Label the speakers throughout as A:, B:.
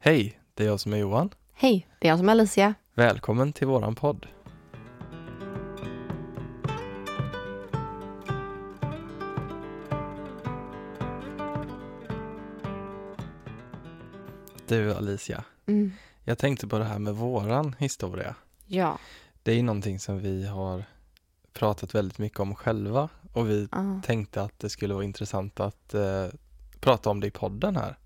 A: Hej, det är jag som är Johan.
B: Hej, det är jag som är Alicia.
A: Välkommen till våran podd. Du Alicia,
B: Mm.
A: jag tänkte på det här med våran historia.
B: Ja.
A: Det är ju någonting som vi har pratat väldigt mycket om själva och vi
B: Ah.
A: tänkte att det skulle vara intressant att eh, prata om det i podden här.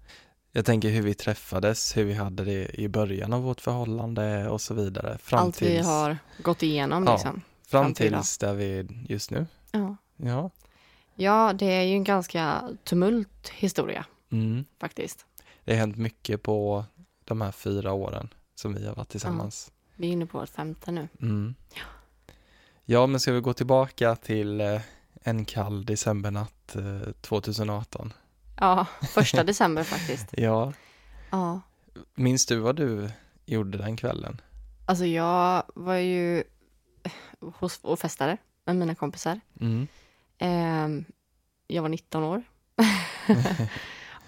A: Jag tänker hur vi träffades, hur vi hade det i början av vårt förhållande och så vidare. Fram
B: Allt vi
A: tills,
B: har gått igenom
A: Ja.
B: liksom.
A: fram
B: fram till
A: tills där vi är just nu.
B: Ja.
A: Ja.
B: ja, det är ju en ganska tumult historia
A: Mm.
B: faktiskt.
A: Det har hänt mycket på de här fyra åren som vi har varit tillsammans.
B: Vi är inne på vårt femte nu.
A: Mm. Ja, men ska vi gå tillbaka till eh, en kall decembernatt eh, 2018?
B: Ja, första december faktiskt.
A: Ja,
B: Ja.
A: minns du vad du gjorde den kvällen?
B: Alltså jag var ju hos och festade med mina kompisar.
A: Mm.
B: Ehm, jag var 19 år.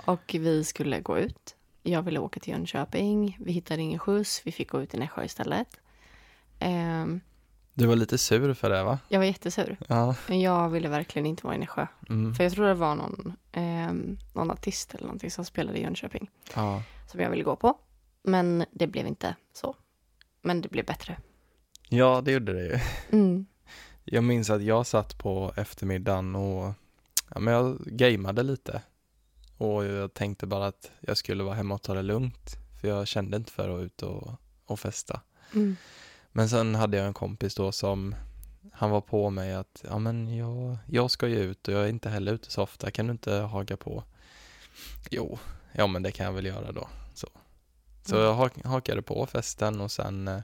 B: och vi skulle gå ut. Jag ville åka till Jönköping. Vi hittade ingen skjuts. Vi fick gå ut i Nässjö istället. Ehm,
A: Du var lite sur för det, va?
B: jag var jättesur.
A: Ja.
B: Men jag ville verkligen inte vara i Nässjö.
A: Mm.
B: För jag tror det var någon, eh, någon artist eller någonting som spelade i Jönköping.
A: Ja.
B: Som jag ville gå på. Men det blev inte så. Men det blev bättre.
A: ja, det gjorde det ju.
B: Mm.
A: Jag minns att jag satt på eftermiddagen och ja, men jag gameade lite. Och jag tänkte bara att jag skulle vara hemma och ta det lugnt. För jag kände inte för att vara ute och, och festa.
B: Mm.
A: Men sen hade jag en kompis då som han var på mig att ja, men jag, jag ska ju ut och jag är inte heller ute så ofta. Kan du inte haga på? Jo, ja men det kan jag väl göra då. Så, så
B: Mm.
A: jag hak, hakade på festen och sen eh,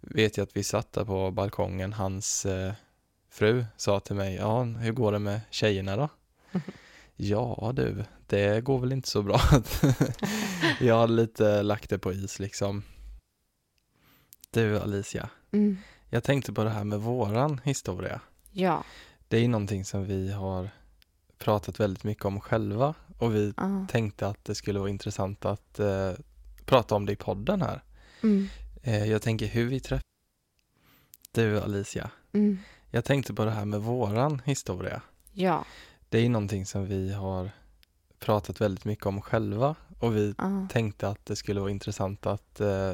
A: vet jag att vi satt där på balkongen. Hans eh, fru sa till mig, ja hur går det med tjejerna då? Ja du, det går väl inte så bra. jag hade lite lagt det på is liksom. Du Alicia,
B: Mm.
A: jag tänkte på det här med våran historia.
B: Ja.
A: Det är ju någonting som vi har pratat väldigt mycket om själva och vi
B: Ah.
A: tänkte att det skulle vara intressant att eh, prata om det i podden här.
B: Mm.
A: Eh, jag tänker hur vi träffades. Du Alicia,
B: Mm.
A: jag tänkte på det här med våran historia.
B: Ja.
A: Det är ju någonting som vi har pratat väldigt mycket om själva och vi
B: Ah.
A: tänkte att det skulle vara intressant att eh,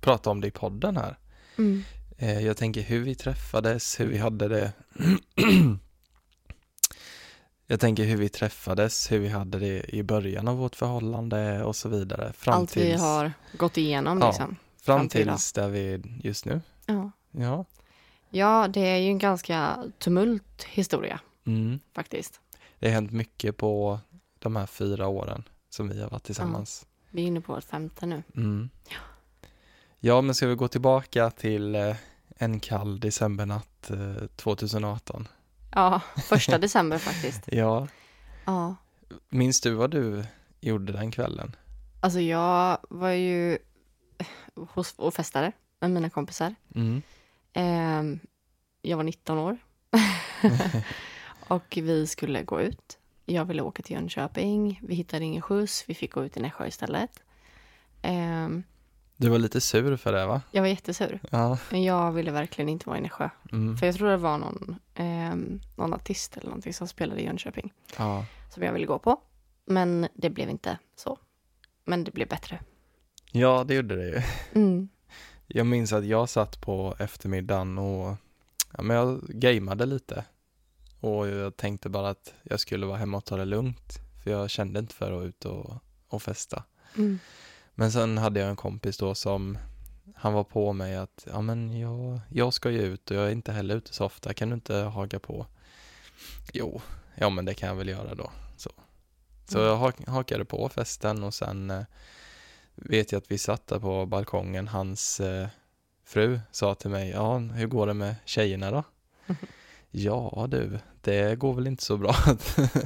A: prata om det i podden här.
B: Mm.
A: Eh, jag tänker hur vi träffades, hur vi hade det. jag tänker hur vi träffades, hur vi hade det i början av vårt förhållande och så vidare. Fram
B: Allt vi
A: tills,
B: har gått igenom
A: Ja.
B: liksom.
A: fram
B: fram till
A: tills där vi är just nu.
B: Ja.
A: Ja.
B: ja, det är ju en ganska tumult historia
A: Mm.
B: faktiskt.
A: Det har hänt mycket på de här fyra åren som vi har varit tillsammans.
B: Vi är inne på vårt femte nu.
A: Mm. Ja, men ska vi gå tillbaka till eh, en kall decembernatt eh, 2018?
B: Ja, första december faktiskt.
A: Ja.
B: Ja.
A: Minns du vad du gjorde den kvällen?
B: Alltså jag var ju hos och festade med mina kompisar.
A: Mm.
B: Ehm, jag var 19 år. och vi skulle gå ut. Jag ville åka till Jönköping. Vi hittade ingen skjuts. Vi fick gå ut i Nässjö istället. Ehm,
A: Du var lite sur för det va?
B: jag var jättesur.
A: Ja.
B: Men jag ville verkligen inte vara i Nässjö.
A: Mm.
B: För jag tror det var någon, ehm, någon artist eller någonting som spelade i Jönköping.
A: ja.
B: Som jag ville gå på. Men det blev inte så. Men det blev bättre.
A: Ja, det gjorde det ju.
B: Mm.
A: Jag minns att jag satt på eftermiddagen och ja, men jag gameade lite. Och jag tänkte bara att jag skulle vara hemma och ta det lugnt. För jag kände inte för att vara ute och, och festa.
B: Mm.
A: Men sen hade jag en kompis då som han var på mig att ja, men jag, jag ska ju ut och jag är inte heller ute så ofta. Kan du inte haga på? Jo, ja men det kan jag väl göra då. Så, så
B: Mm.
A: jag hak, hakade på festen och sen eh, vet jag att vi satt där på balkongen. Hans eh, fru sa till mig, ja hur går det med tjejerna då? Ja du, det går väl inte så bra.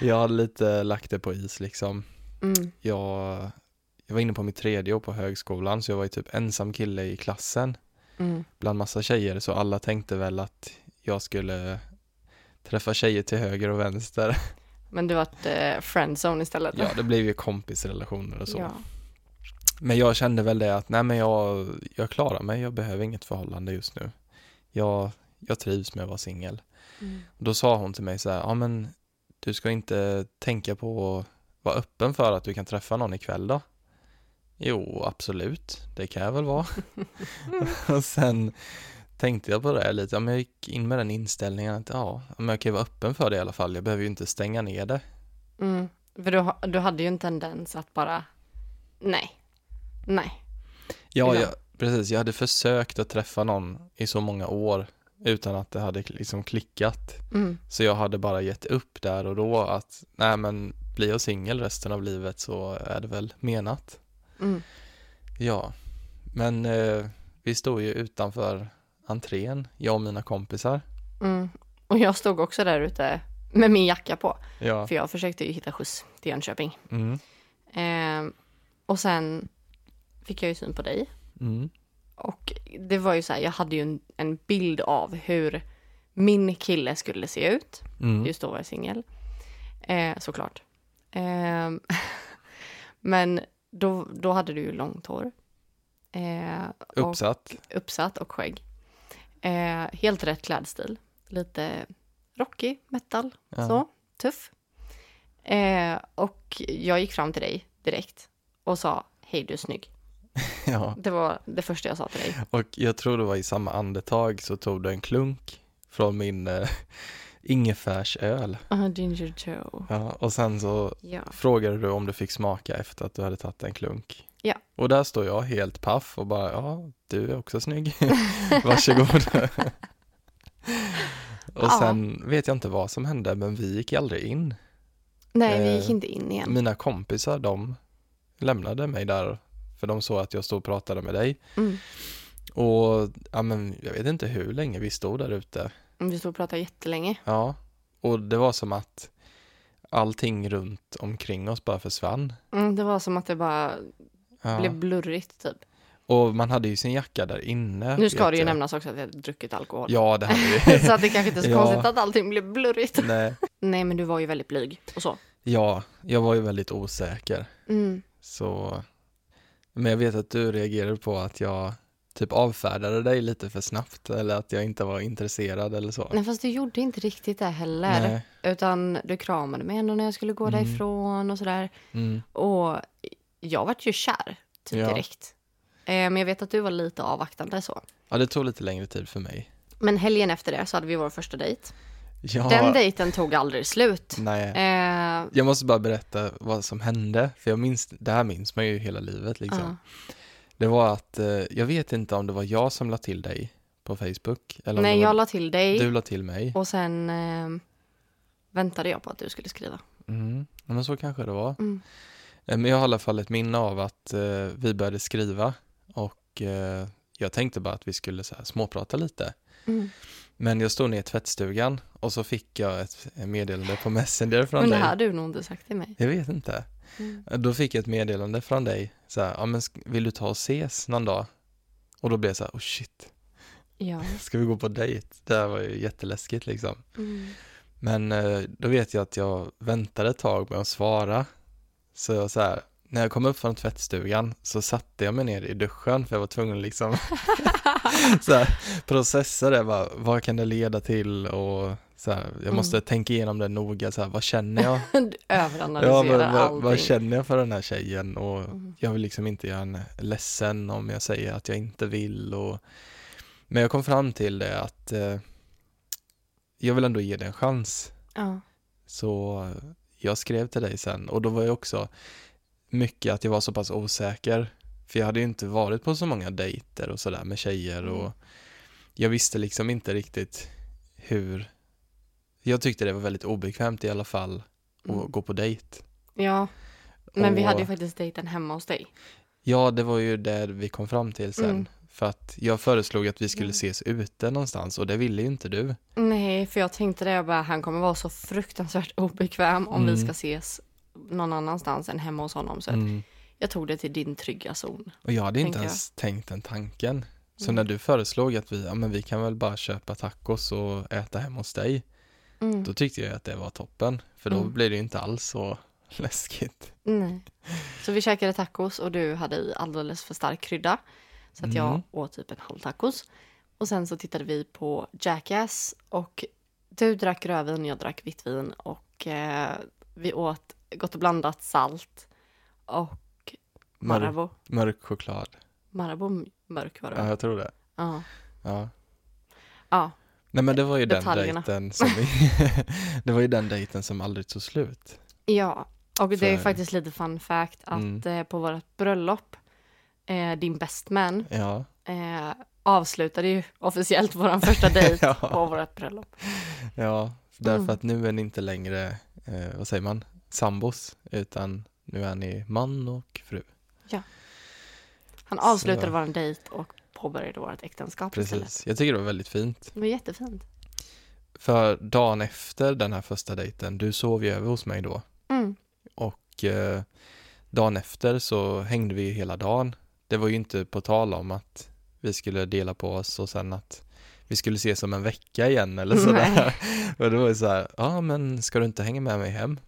A: jag hade lite lagt det på is liksom
B: Mm.
A: jag, jag var inne på mitt tredje år på högskolan så jag var ju typ ensam kille i klassen
B: Mm.
A: bland massa tjejer så alla tänkte väl att jag skulle träffa tjejer till höger och vänster.
B: Men du vart eh, friendzone istället?
A: Ja, det blev ju kompisrelationer och så.
B: Ja.
A: Men jag kände väl det att nej men jag, jag klarar mig, jag behöver inget förhållande just nu. Jag, jag trivs med att vara singel.
B: Mm.
A: Då sa hon till mig så här, ja men du ska inte tänka på att vara öppen för att du kan träffa någon ikväll då? Jo, absolut, det kan jag väl vara. och sen tänkte jag på det här lite, ja, men jag gick in med den inställningen att ja, men jag kan ju vara öppen för det i alla fall, jag behöver ju inte stänga ner det.
B: Mm. För du, ha- du hade ju en tendens att bara, nej, nej.
A: Ja,
B: Ibland.
A: jag, precis. Jag hade försökt att träffa någon i så många år utan att det hade liksom klickat.
B: Mm.
A: Så jag hade bara gett upp där och då att nej men blir jag singel resten av livet så är det väl menat.
B: Mm.
A: Ja, men eh, vi stod ju utanför entrén, jag och mina kompisar.
B: Mm. Och jag stod också där ute med min jacka på,
A: Ja,
B: för jag försökte ju hitta skjuts till Jönköping.
A: mm,
B: Ehm, och sen fick jag ju syn på dig.
A: mm,
B: Och det var ju så här, jag hade ju en, en bild av hur min kille skulle se ut.
A: mm,
B: Just då var jag singel. Eh, såklart. Ehm, men då, då hade du ju långt hår. Eh, och
A: uppsatt.
B: uppsatt och skägg. Eh, helt rätt klädstil. Lite rockig, metal,
A: Ja.
B: så. Tuff. Eh, och jag gick fram till dig direkt och sa hej du är snygg.
A: Ja.
B: Det var det första jag sa till dig.
A: Och jag tror det var i samma andetag så tog du en klunk från min eh, ingefärsöl.
B: Ah, Ginger Joe.
A: Ja, och sen så
B: Ja.
A: frågade du om du fick smaka efter att du hade tagit en klunk.
B: Ja.
A: Och där står jag helt paff och bara, ja, du är också snygg. Varsågod. och
B: Ja.
A: sen vet jag inte vad som hände, men vi gick aldrig in.
B: Nej, vi gick
A: Eh,
B: inte in igen.
A: Mina kompisar, de lämnade mig där, för de såg att jag stod och pratade med dig.
B: Mm.
A: Och ja, men, jag vet inte hur länge vi stod där ute.
B: Vi stod och pratade jättelänge.
A: Ja, och det var som att allting runt omkring oss bara försvann.
B: Mm, det var som att det bara
A: Ja.
B: blev blurrigt typ.
A: Och man hade ju sin jacka där inne.
B: Nu ska
A: vet
B: det ju
A: jag.
B: nämnas också att jag hade druckit alkohol.
A: Ja, det hade
B: så att det kanske inte är så
A: Ja.
B: konstigt att allting blev blurrigt.
A: vi. Nej.
B: Nej, men du var ju väldigt blyg och så.
A: Ja, jag var ju väldigt osäker.
B: Mm.
A: Så... Men jag vet att du reagerade på att jag typ avfärdade dig lite för snabbt eller att jag inte var intresserad eller så.
B: Nej, fast du gjorde inte riktigt det heller.
A: Nej.
B: Utan du kramade mig ändå när jag skulle gå
A: Mm.
B: därifrån och sådär.
A: Mm.
B: Och jag vart ju kär, typ
A: Ja.
B: direkt. Eh, men jag vet att du var lite avvaktande så.
A: Ja, det tog lite längre tid för mig.
B: Men helgen efter det så hade vi vår första dejt.
A: Ja,
B: Den dejten tog aldrig slut.
A: Nej.
B: Eh,
A: Jag måste bara berätta vad som hände, för jag minns, det här minns man ju hela livet liksom.
B: ja.
A: Det var att, eh, jag vet inte om det var jag som la till dig på Facebook, eller om
B: Nej,
A: det var
B: jag la till dig
A: du la till mig.
B: och sen eh, väntade jag på att du skulle skriva.
A: Mm. ja, Men så kanske det var.
B: Mm.
A: Eh, Men jag har i alla fall ett minne av att eh, vi började skriva och eh, jag tänkte bara att vi skulle så här, småprata lite.
B: Mm.
A: Men jag stod nere i tvättstugan och så fick jag ett meddelande på Messenger från
B: Men det
A: dig.
B: här hade du nog inte sagt till mig.
A: Jag vet inte.
B: Mm.
A: Eh, Då fick jag ett meddelande från dig. Så här, ja, men sk- vill du ta och ses någon dag? Och då blev jag så här, oh shit,
B: Ja.
A: ska vi gå på dejt? Det här var ju jätteläskigt liksom.
B: Mm.
A: Men eh, då vet jag att jag väntade ett tag med att svara. Så jag så här, när jag kom upp från tvättstugan så satte jag mig ner i duschen för jag var tvungen att liksom så här, processa det, bara, vad kan det leda till och så här, jag
B: Mm.
A: måste tänka igenom det noga, så här, vad känner jag?
B: Du
A: Ja,
B: överanalyserar
A: men, vad, vad
B: allting.
A: känner jag för den här tjejen och
B: Mm.
A: jag vill liksom inte göra henne ledsen om jag säger att jag inte vill och men jag kom fram till det att eh, jag vill ändå ge det en chans.
B: Ja.
A: Så jag skrev till dig sen och då var jag också mycket att jag var så pass osäker. För jag hade ju inte varit på så många dejter och sådär med tjejer och
B: Mm.
A: jag visste liksom inte riktigt hur. Jag tyckte det var väldigt obekvämt i alla fall att
B: Mm.
A: gå på dejt.
B: ja, men vi
A: Och-
B: hade ju faktiskt dejten hemma hos dig.
A: Ja, det var ju det vi kom fram till sen.
B: Mm.
A: För att jag föreslog att vi skulle
B: Mm.
A: ses ute någonstans och det ville ju inte du.
B: Nej, för jag tänkte det, jag bara, han kommer vara så fruktansvärt obekväm om vi
A: Mm.
B: ska ses någon annanstans än hemma hos honom. Så att
A: Mm.
B: jag tog det till din trygga zon.
A: Och jag hade inte
B: Tänker jag.
A: ens tänkt den tanken. Så
B: Mm.
A: när du föreslog att vi, ja men vi kan väl bara köpa tacos och äta hemma hos dig.
B: Mm.
A: Då tyckte jag att det var toppen. För då
B: Mm.
A: blir det ju inte alls så Läskigt.
B: Nej. Så vi käkade tacos och du hade i alldeles för stark krydda. Så att jag
A: Mm.
B: åt typ en halv tacos. Och sen så tittade vi på Jackass och du drack rödvin, jag drack vitt vin och eh, vi åt gott och blandat salt och
A: Mörk,
B: Marabou.
A: mörk choklad.
B: Marabou mörk var det
A: Ja,
B: va?
A: jag tror det.
B: Ja.
A: Ja.
B: Ja.
A: Nej men det var ju den
B: Detaljerna.
A: dejten som Det var ju den dejten som aldrig tog slut.
B: Ja, och det är
A: För-
B: faktiskt lite fun fact att
A: Mm.
B: eh, på vårt bröllop, eh, din best man
A: Ja.
B: eh, avslutade ju officiellt vår första dejt
A: Ja.
B: på vårt bröllop.
A: Ja, därför
B: Mm.
A: att nu är ni inte längre, eh, vad säger man, sambos, utan nu är ni man och fru.
B: Han avslutade
A: Så.
B: vår dejt och påbörjade vårt äktenskap istället.
A: Precis. Jag tycker det var väldigt fint.
B: Det var jättefint.
A: För dagen efter den här första dejten, du sov ju över hos mig då,
B: Mm.
A: och eh, dagen efter så hängde vi ju hela dagen. Det var ju inte på tal om att vi skulle dela på oss och sen att vi skulle ses om en vecka igen eller sådär. Och det var ju så här, ja men ska du inte hänga med mig hem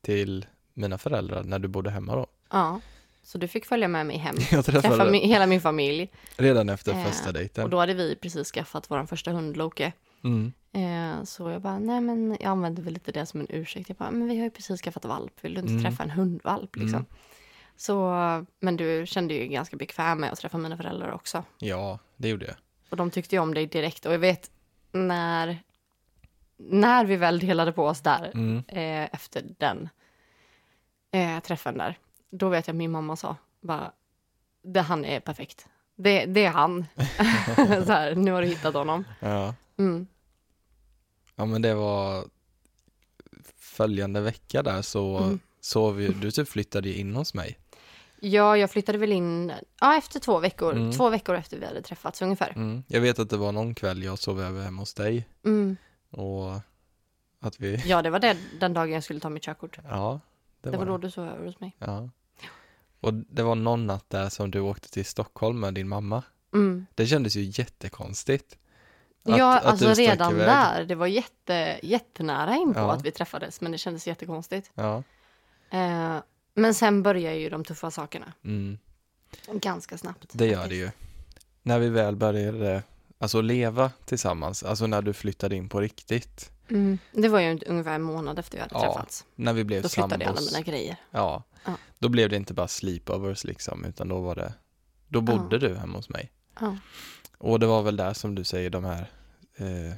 A: till mina föräldrar när du bodde hemma då?
B: Ja, så du fick följa med mig hem.
A: Jag
B: Träffa
A: träffade
B: mi- hela min familj.
A: redan efter
B: Eh,
A: första
B: Och
A: dejten.
B: då hade vi precis skaffat vår första hund Loke.
A: Mm.
B: Eh, så jag bara, nej men jag använde väl lite det som en ursäkt. Jag bara, men vi har ju precis skaffat valp, vill du inte
A: Mm.
B: träffa en hundvalp liksom?
A: Mm.
B: Så, men du kände ju ganska bekväm med att träffa mina föräldrar också.
A: Ja, det gjorde jag.
B: Och de tyckte ju om dig direkt. Och jag vet när, när vi väl delade på oss där,
A: Mm.
B: eh, efter den eh, träffen där, då vet jag att min mamma sa bara, det han är perfekt. Det, det är han. så här, nu har du hittat honom.
A: Ja.
B: Mm.
A: ja, men det var följande vecka där så
B: Mm.
A: sov ju, du typ flyttade ju in hos mig.
B: Ja, jag flyttade väl in ja, efter två veckor.
A: Mm.
B: Två veckor efter vi hade träffats ungefär.
A: Mm. Jag vet att det var någon kväll jag sov över hemma hos dig
B: Mm.
A: och att vi,
B: Ja, det var det, den dagen jag skulle ta mitt körkort.
A: ja, det,
B: Det var
A: var
B: då
A: det.
B: du sov över hos mig.
A: Ja. Och det var någon natt där som du åkte till Stockholm med din mamma.
B: Mm.
A: Det kändes ju jättekonstigt.
B: ja,
A: att du
B: alltså
A: stack
B: redan
A: iväg.
B: där. Det var jätte, jättenära in på
A: Ja.
B: att vi träffades, men det kändes jättekonstigt.
A: Ja.
B: Eh, men sen börjar ju de tuffa sakerna
A: Mm.
B: ganska snabbt.
A: Det gör det
B: faktiskt.
A: ju. När vi väl började alltså leva tillsammans, alltså när du flyttade in på riktigt,
B: Mm. Det var ju ungefär en månad efter vi hade
A: Ja,
B: träffats.
A: när vi blev
B: Då flyttade jag alla
A: sambos.
B: mina grejer.
A: Ja,
B: Ja.
A: då blev det inte bara sleepovers liksom, utan då var det, då bodde du hemma hos mig.
B: Ja.
A: Och det var väl där som du säger de här, eh,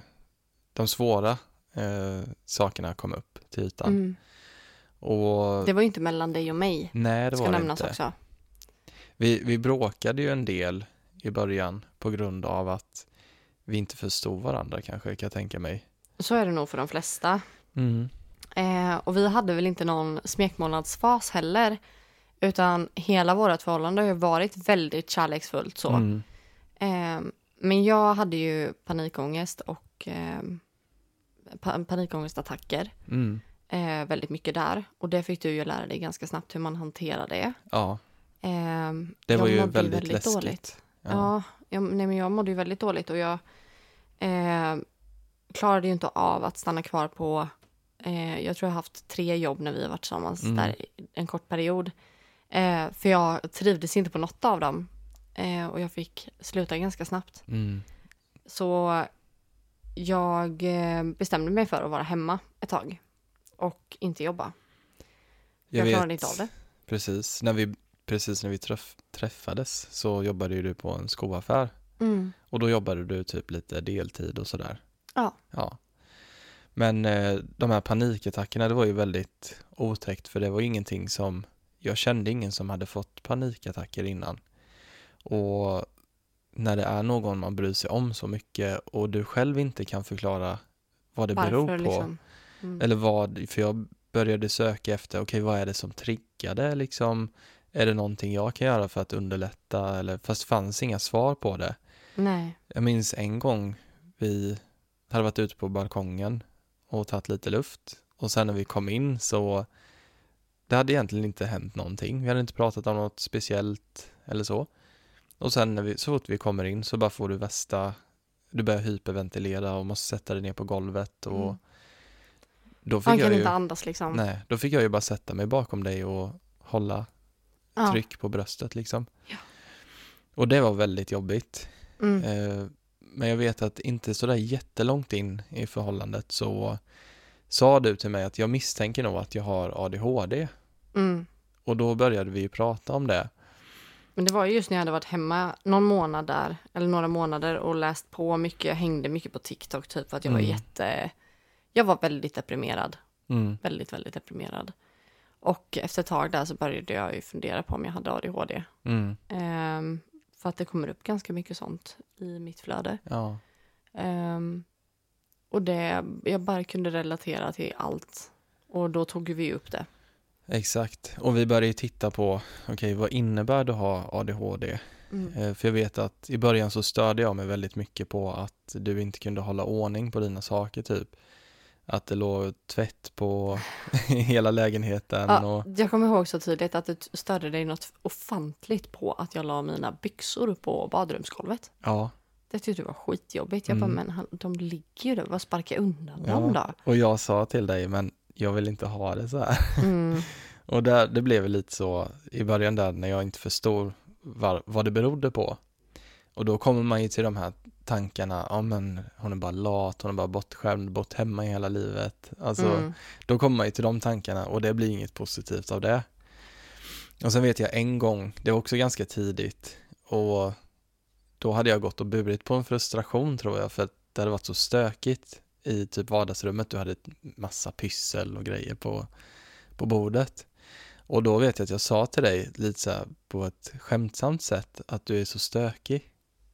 A: de svåra eh, sakerna kom upp till ytan.
B: Mm.
A: Och
B: Det var ju inte mellan dig och mig,
A: nej, det
B: ska
A: var det
B: nämnas
A: inte.
B: också.
A: Vi, vi bråkade ju en del i början på grund av att vi inte förstod varandra kanske, kan jag tänka mig.
B: Så är det nog för de flesta.
A: Mm.
B: Eh, och vi hade väl inte någon smekmånadsfas heller. Utan hela vårt förhållande har ju varit väldigt kärleksfullt så.
A: Mm.
B: Eh, men jag hade ju panikångest och eh, pa- panikångestattacker.
A: Mm.
B: Eh, väldigt mycket där. Och det fick du ju lära dig ganska snabbt hur man hanterar det.
A: Ja,
B: Eh,
A: det
B: jag
A: var ju
B: mådde
A: väldigt, läskigt.
B: Ja,
A: Ja.
B: jag, nej, men jag mådde ju väldigt dåligt och jag eh, klarade ju inte av att stanna kvar på... Eh, jag tror jag har haft tre jobb när vi har varit tillsammans
A: Mm.
B: där i en kort period. Eh, för jag trivdes inte på något av dem eh, och jag fick sluta ganska snabbt.
A: Mm.
B: Så jag eh, bestämde mig för att vara hemma ett tag och inte jobba. Jag,
A: vet-
B: klarade inte av det.
A: Precis, när vi, precis när vi träff, träffades så jobbade ju du på en skoaffär
B: Mm.
A: och då jobbade du typ lite deltid och sådär.
B: Ja.
A: ja. Men eh, de här panikattackerna, det var ju väldigt otäckt för det var ju ingenting som, jag kände ingen som hade fått panikattacker innan. Och när det är någon man bryr sig om så mycket och du själv inte kan förklara vad det beror på.
B: liksom? Mm.
A: Eller vad, för jag började söka efter, okej vad är det som triggade liksom? Är det någonting jag kan göra för att underlätta? Eller, fast det fanns inga svar på det.
B: Nej.
A: Jag minns en gång vi hade varit ute på balkongen och tagit lite luft och sen när vi kom in så det hade egentligen inte hänt någonting. Vi hade inte pratat om något speciellt eller så. Och sen när vi, så fort vi kommer in så bara får du västa, du börjar hyperventilera och måste sätta dig ner på golvet och
B: Mm.
A: Då fick
B: Han
A: jag
B: kan
A: ju,
B: inte andas liksom.
A: Nej, då fick jag ju bara sätta mig bakom dig och hålla
B: ja.
A: tryck på bröstet liksom.
B: Ja.
A: Och det var väldigt jobbigt.
B: Mm.
A: Eh, Men jag vet att inte sådär jättelångt in i förhållandet så sa du till mig att jag misstänker nog att jag har ADHD.
B: Mm.
A: Och då började vi ju prata om det.
B: Men det var ju just när jag hade varit hemma någon månad där, eller några månader och läst på mycket. Jag hängde mycket på TikTok typ för att jag var
A: Mm.
B: jätte... Jag var väldigt deprimerad.
A: Mm.
B: Väldigt, väldigt deprimerad. Och efter ett tag där så började jag ju fundera på om jag hade ADHD.
A: Mm.
B: Ehm, för att det kommer upp ganska mycket sånt i mitt flöde.
A: Ja.
B: Ehm, och det, jag bara kunde relatera till allt. Och då tog ju vi upp det.
A: Exakt, och vi började ju titta på, okej vad innebär det att ha ADHD?
B: Mm.
A: Eh, För jag vet att i början så störde jag mig väldigt mycket på att du inte kunde hålla ordning på dina saker typ. Att det låg tvätt på hela lägenheten
B: Ja,
A: och
B: jag kommer ihåg så tydligt att du t- störde dig något ofantligt på att jag la mina byxor på badrumsgolvet.
A: ja.
B: Det tyckte du var skitjobbigt. Jag
A: Mm.
B: bara, men han, de ligger ju där. Vad sparkar jag undan
A: Ja.
B: dem då?
A: Och jag sa till dig, men jag vill inte ha det så här.
B: Mm.
A: Och där, det blev lite så i början där när jag inte förstod var, vad det berodde på. Och då kommer man ju till de här tankarna, ja men hon är bara lat, hon är bara bortskämd, bort hemma i hela livet. Alltså,
B: Mm.
A: då kommer man ju till de tankarna och det blir inget positivt av det. Och sen vet jag en gång, det var också ganska tidigt och då hade jag gått och burit på en frustration tror jag för att det hade varit så stökigt i typ vardagsrummet. Du hade ett massa pyssel och grejer på, på bordet. Och då vet jag att jag sa till dig lite så här på ett skämtsamt sätt att du är så stökig.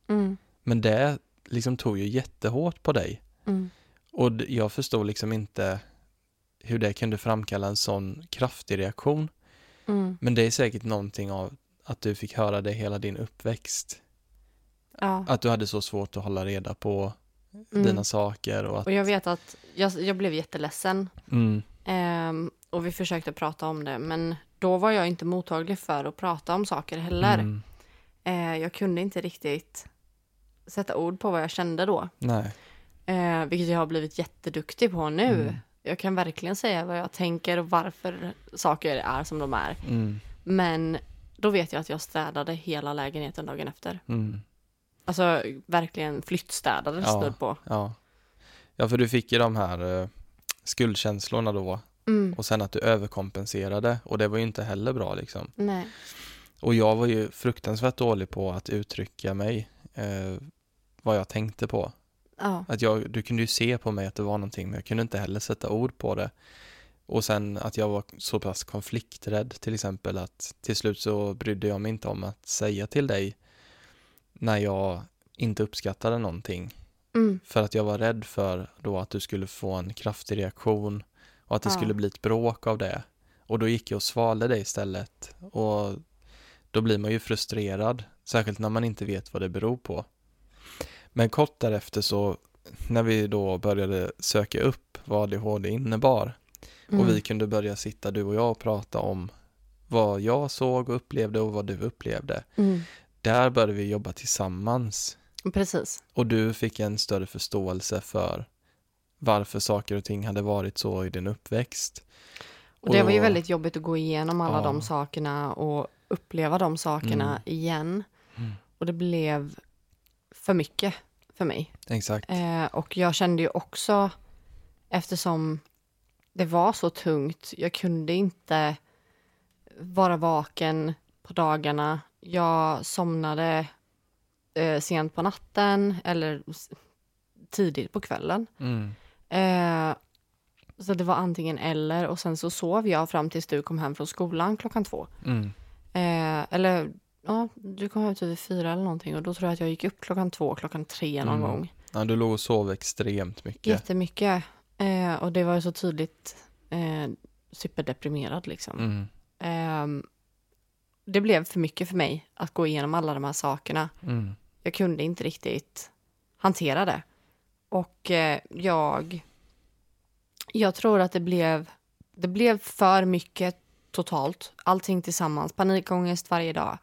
B: Mm.
A: Men det liksom tog ju jättehårt på dig.
B: Mm.
A: Och d- jag förstod liksom inte hur det kunde framkalla en sån kraftig reaktion.
B: Mm.
A: Men det är säkert någonting av att du fick höra det hela din uppväxt.
B: Ja.
A: Att du hade så svårt att hålla reda på
B: Mm.
A: dina saker och att...
B: Och jag vet att jag, jag blev jätteledsen
A: Mm,
B: ehm, och vi försökte prata om det men då var jag inte mottaglig för att prata om saker heller.
A: mm,
B: Eh, jag kunde inte riktigt sätta ord på vad jag kände då,
A: nej.
B: eh, vilket jag har blivit jätteduktig på nu.
A: Mm.
B: Jag kan verkligen säga vad jag tänker och varför saker är som de är.
A: Mm,
B: Men då vet jag att jag städade hela lägenheten dagen efter.
A: mm,
B: Alltså verkligen flyttstädade
A: Ja.
B: snudd på.
A: ja. Ja, för du fick ju de här eh, skuldkänslorna då
B: Mm.
A: och sen att du överkompenserade och det var ju inte heller bra liksom.
B: Nej.
A: Och jag var ju fruktansvärt dålig på att uttrycka mig eh, vad jag tänkte på.
B: Ja.
A: Att jag, du kunde ju se på mig att det var någonting men jag kunde inte heller sätta ord på det. Och sen att jag var så pass konflikträdd till exempel att till slut så brydde jag mig inte om att säga till dig när jag inte uppskattade någonting.
B: Mm.
A: För att jag var rädd för då att du skulle få en kraftig reaktion och att det
B: Ja.
A: skulle bli ett bråk av det. Och då gick jag och svalde det istället. Och då blir man ju frustrerad, särskilt när man inte vet vad det beror på. Men kort därefter så, när vi då började söka upp vad ADHD innebar
B: Mm.
A: och vi kunde börja sitta du och jag och prata om vad jag såg och upplevde och vad du upplevde.
B: Mm.
A: Där började vi jobba tillsammans
B: Precis.
A: och du fick en större förståelse för varför saker och ting hade varit så i din uppväxt.
B: Och det var ju
A: Och-
B: väldigt jobbigt att gå igenom alla
A: Ja.
B: de sakerna och uppleva de sakerna
A: Mm.
B: igen. Och det blev för mycket för mig.
A: Exakt.
B: Eh, och jag kände ju också, eftersom det var så tungt, jag kunde inte vara vaken på dagarna. Jag somnade eh, sent på natten eller s- tidigt på kvällen.
A: Mm.
B: Eh, så det var antingen eller och sen så sov jag fram tills du kom hem från skolan klockan två.
A: Mm.
B: Eh, eller ja, du kom hem typ vid fyra eller någonting och då tror jag att jag gick upp klockan två, klockan tre någon
A: Mm.
B: gång.
A: Ja, du låg och sov extremt mycket.
B: Jättemycket. Eh, och det var ju så tydligt eh, superdeprimerad liksom.
A: Mm.
B: Eh, det blev för mycket för mig att gå igenom alla de här sakerna.
A: Mm.
B: jag kunde inte riktigt hantera det. Och eh, jag, jag tror att det blev, det blev för mycket totalt. Allting tillsammans. Panikångest varje dag.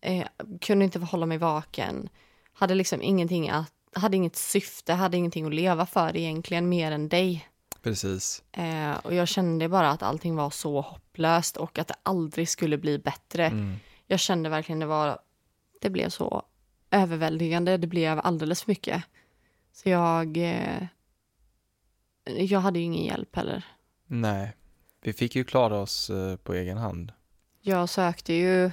B: Eh, kunde inte hålla mig vaken. Hade liksom ingenting att, hade inget syfte, hade ingenting att leva för egentligen mer än dig.
A: Precis.
B: Eh, och jag kände bara att allting var så hopplöst och att det aldrig skulle bli bättre.
A: Mm.
B: Jag kände verkligen det var, det blev så överväldigande, det blev alldeles för mycket. Så jag, eh, jag hade ju ingen hjälp heller.
A: Nej, vi fick ju klara oss eh, på egen hand.
B: Jag sökte ju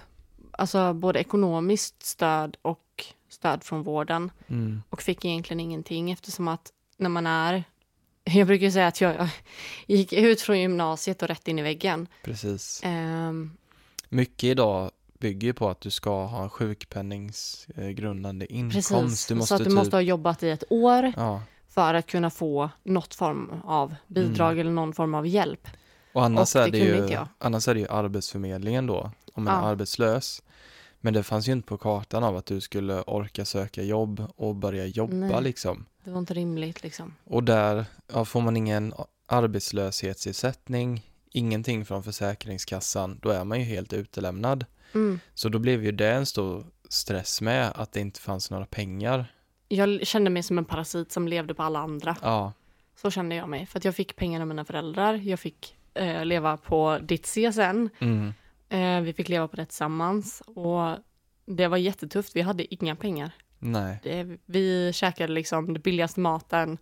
B: alltså, både ekonomiskt stöd och stöd från vården
A: Mm.
B: och fick egentligen ingenting eftersom att när man är... Jag brukar ju säga att jag, jag gick ut från gymnasiet och rätt in i väggen.
A: Precis.
B: Ehm,
A: Mycket idag bygger på att du ska ha en sjukpenningsgrundande inkomst.
B: precis,
A: Du
B: så
A: måste
B: att du
A: typ,
B: måste ha jobbat i ett år
A: Ja,
B: för att kunna få något form av bidrag eller någon form av hjälp.
A: och annars,
B: Och det
A: är det
B: kunde
A: ju,
B: inte jag.
A: annars är det ju Arbetsförmedlingen då, om man
B: Ja.
A: är arbetslös. Men det fanns ju inte på kartan av att du skulle orka söka jobb och börja jobba
B: Nej.
A: liksom.
B: Det var inte rimligt liksom.
A: Och där ja, får man ingen arbetslöshetsersättning, ingenting från Försäkringskassan, då är man ju helt utelämnad.
B: Mm.
A: Så då blev ju det en stor stress med att det inte fanns några pengar.
B: Jag kände mig som en parasit som levde på alla andra.
A: Ja,
B: Så kände jag mig. För att jag fick pengar av mina föräldrar. Jag fick eh, leva på ditt CSN.
A: mm,
B: Eh, vi fick leva på det tillsammans. Och det var jättetufft. Vi hade inga pengar.
A: nej,
B: Det, vi käkade liksom den billigaste maten.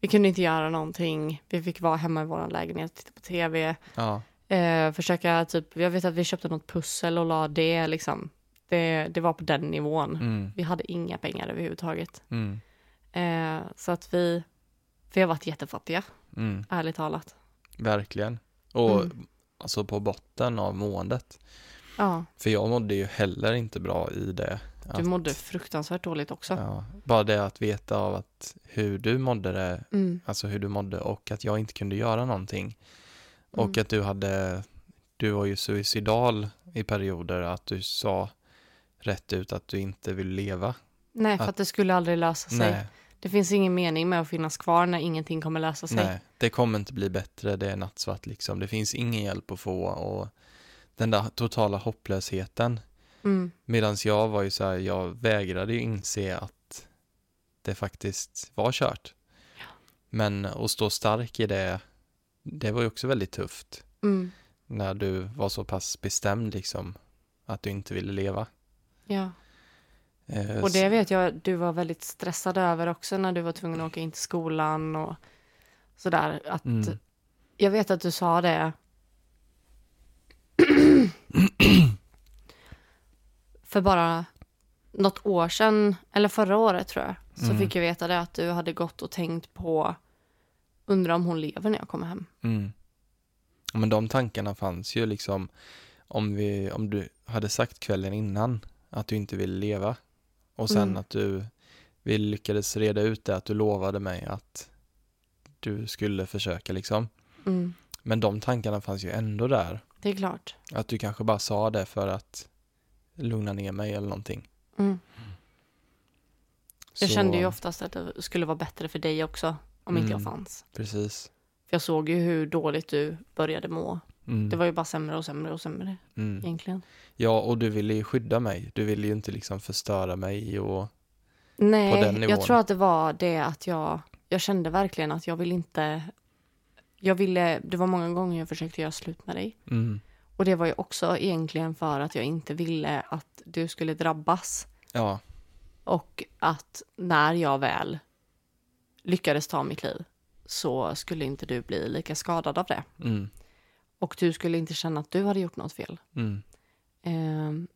B: Vi kunde inte göra någonting. Vi fick vara hemma i vår lägenhet och titta på tv.
A: ja,
B: Eh, försöka typ, jag vet att vi köpte något pussel och la det liksom. Det, det var på den nivån.
A: mm,
B: Vi hade inga pengar överhuvudtaget.
A: mm,
B: Eh, så att vi, vi har varit jättefattiga,
A: mm,
B: ärligt talat.
A: verkligen. Och
B: Mm.
A: alltså på botten av måendet.
B: Ja,
A: För jag mådde ju heller inte bra i det.
B: du
A: Att-
B: mådde fruktansvärt dåligt också.
A: Ja, bara det att veta av att hur du mådde det,
B: Mm,
A: alltså hur du mådde och att jag inte kunde göra någonting. Och
B: Mm.
A: att du hade, du var ju suicidal i perioder, att du sa rätt ut att du inte vill leva.
B: Nej, för att det skulle aldrig lösa sig.
A: Nej,
B: Det finns ingen mening med att finnas kvar när ingenting kommer lösa sig.
A: nej, det kommer inte bli bättre, det är nattsvart liksom. Det finns ingen hjälp att få och den där totala hopplösheten.
B: Mm,
A: Medan jag var ju så här, jag vägrade ju inse att det faktiskt var kört. Men att stå stark i det, det var ju också väldigt tufft.
B: mm,
A: När du var så pass bestämd liksom, att du inte ville leva.
B: ja.
A: Eh,
B: Och
A: s-
B: det vet jag, du var väldigt stressad över också när du var tvungen att åka in till skolan och sådär. Att,
A: Mm.
B: Jag vet att du sa det. För bara något år sedan, eller förra året tror jag, så
A: Mm.
B: fick jag veta det att du hade gått och tänkt på undrar om hon lever när jag kommer hem.
A: Mm. Men de tankarna fanns ju liksom, om, vi, om du hade sagt kvällen innan att du inte ville leva. Och sen
B: Mm.
A: att du, vi lyckades reda ut det, att du lovade mig att du skulle försöka liksom.
B: Mm.
A: Men de tankarna fanns ju ändå där.
B: Det är klart.
A: Att du kanske bara sa det för att lugna ner mig eller någonting.
B: Mm. Jag
A: Så-
B: kände ju oftast att det skulle vara bättre för dig också om inte jag
A: Mm.
B: fanns.
A: Precis.
B: För jag såg ju hur dåligt du började må.
A: Mm.
B: Det var ju bara sämre och sämre och sämre
A: mm.
B: egentligen.
A: Ja, och du ville ju skydda mig. Du ville ju inte liksom förstöra mig och... På den
B: Nej,
A: nivån.
B: jag tror att det var det att jag, jag kände verkligen att jag vill inte, jag ville, det var många gånger jag försökte göra slut med dig.
A: Mm.
B: Och det var ju också egentligen för att jag inte ville att du skulle drabbas
A: Ja,
B: och att när jag väl lyckades ta mitt liv så skulle inte du bli lika skadad av det.
A: mm.
B: Och du skulle inte känna att du hade gjort något fel.
A: Mm.
B: Ehm,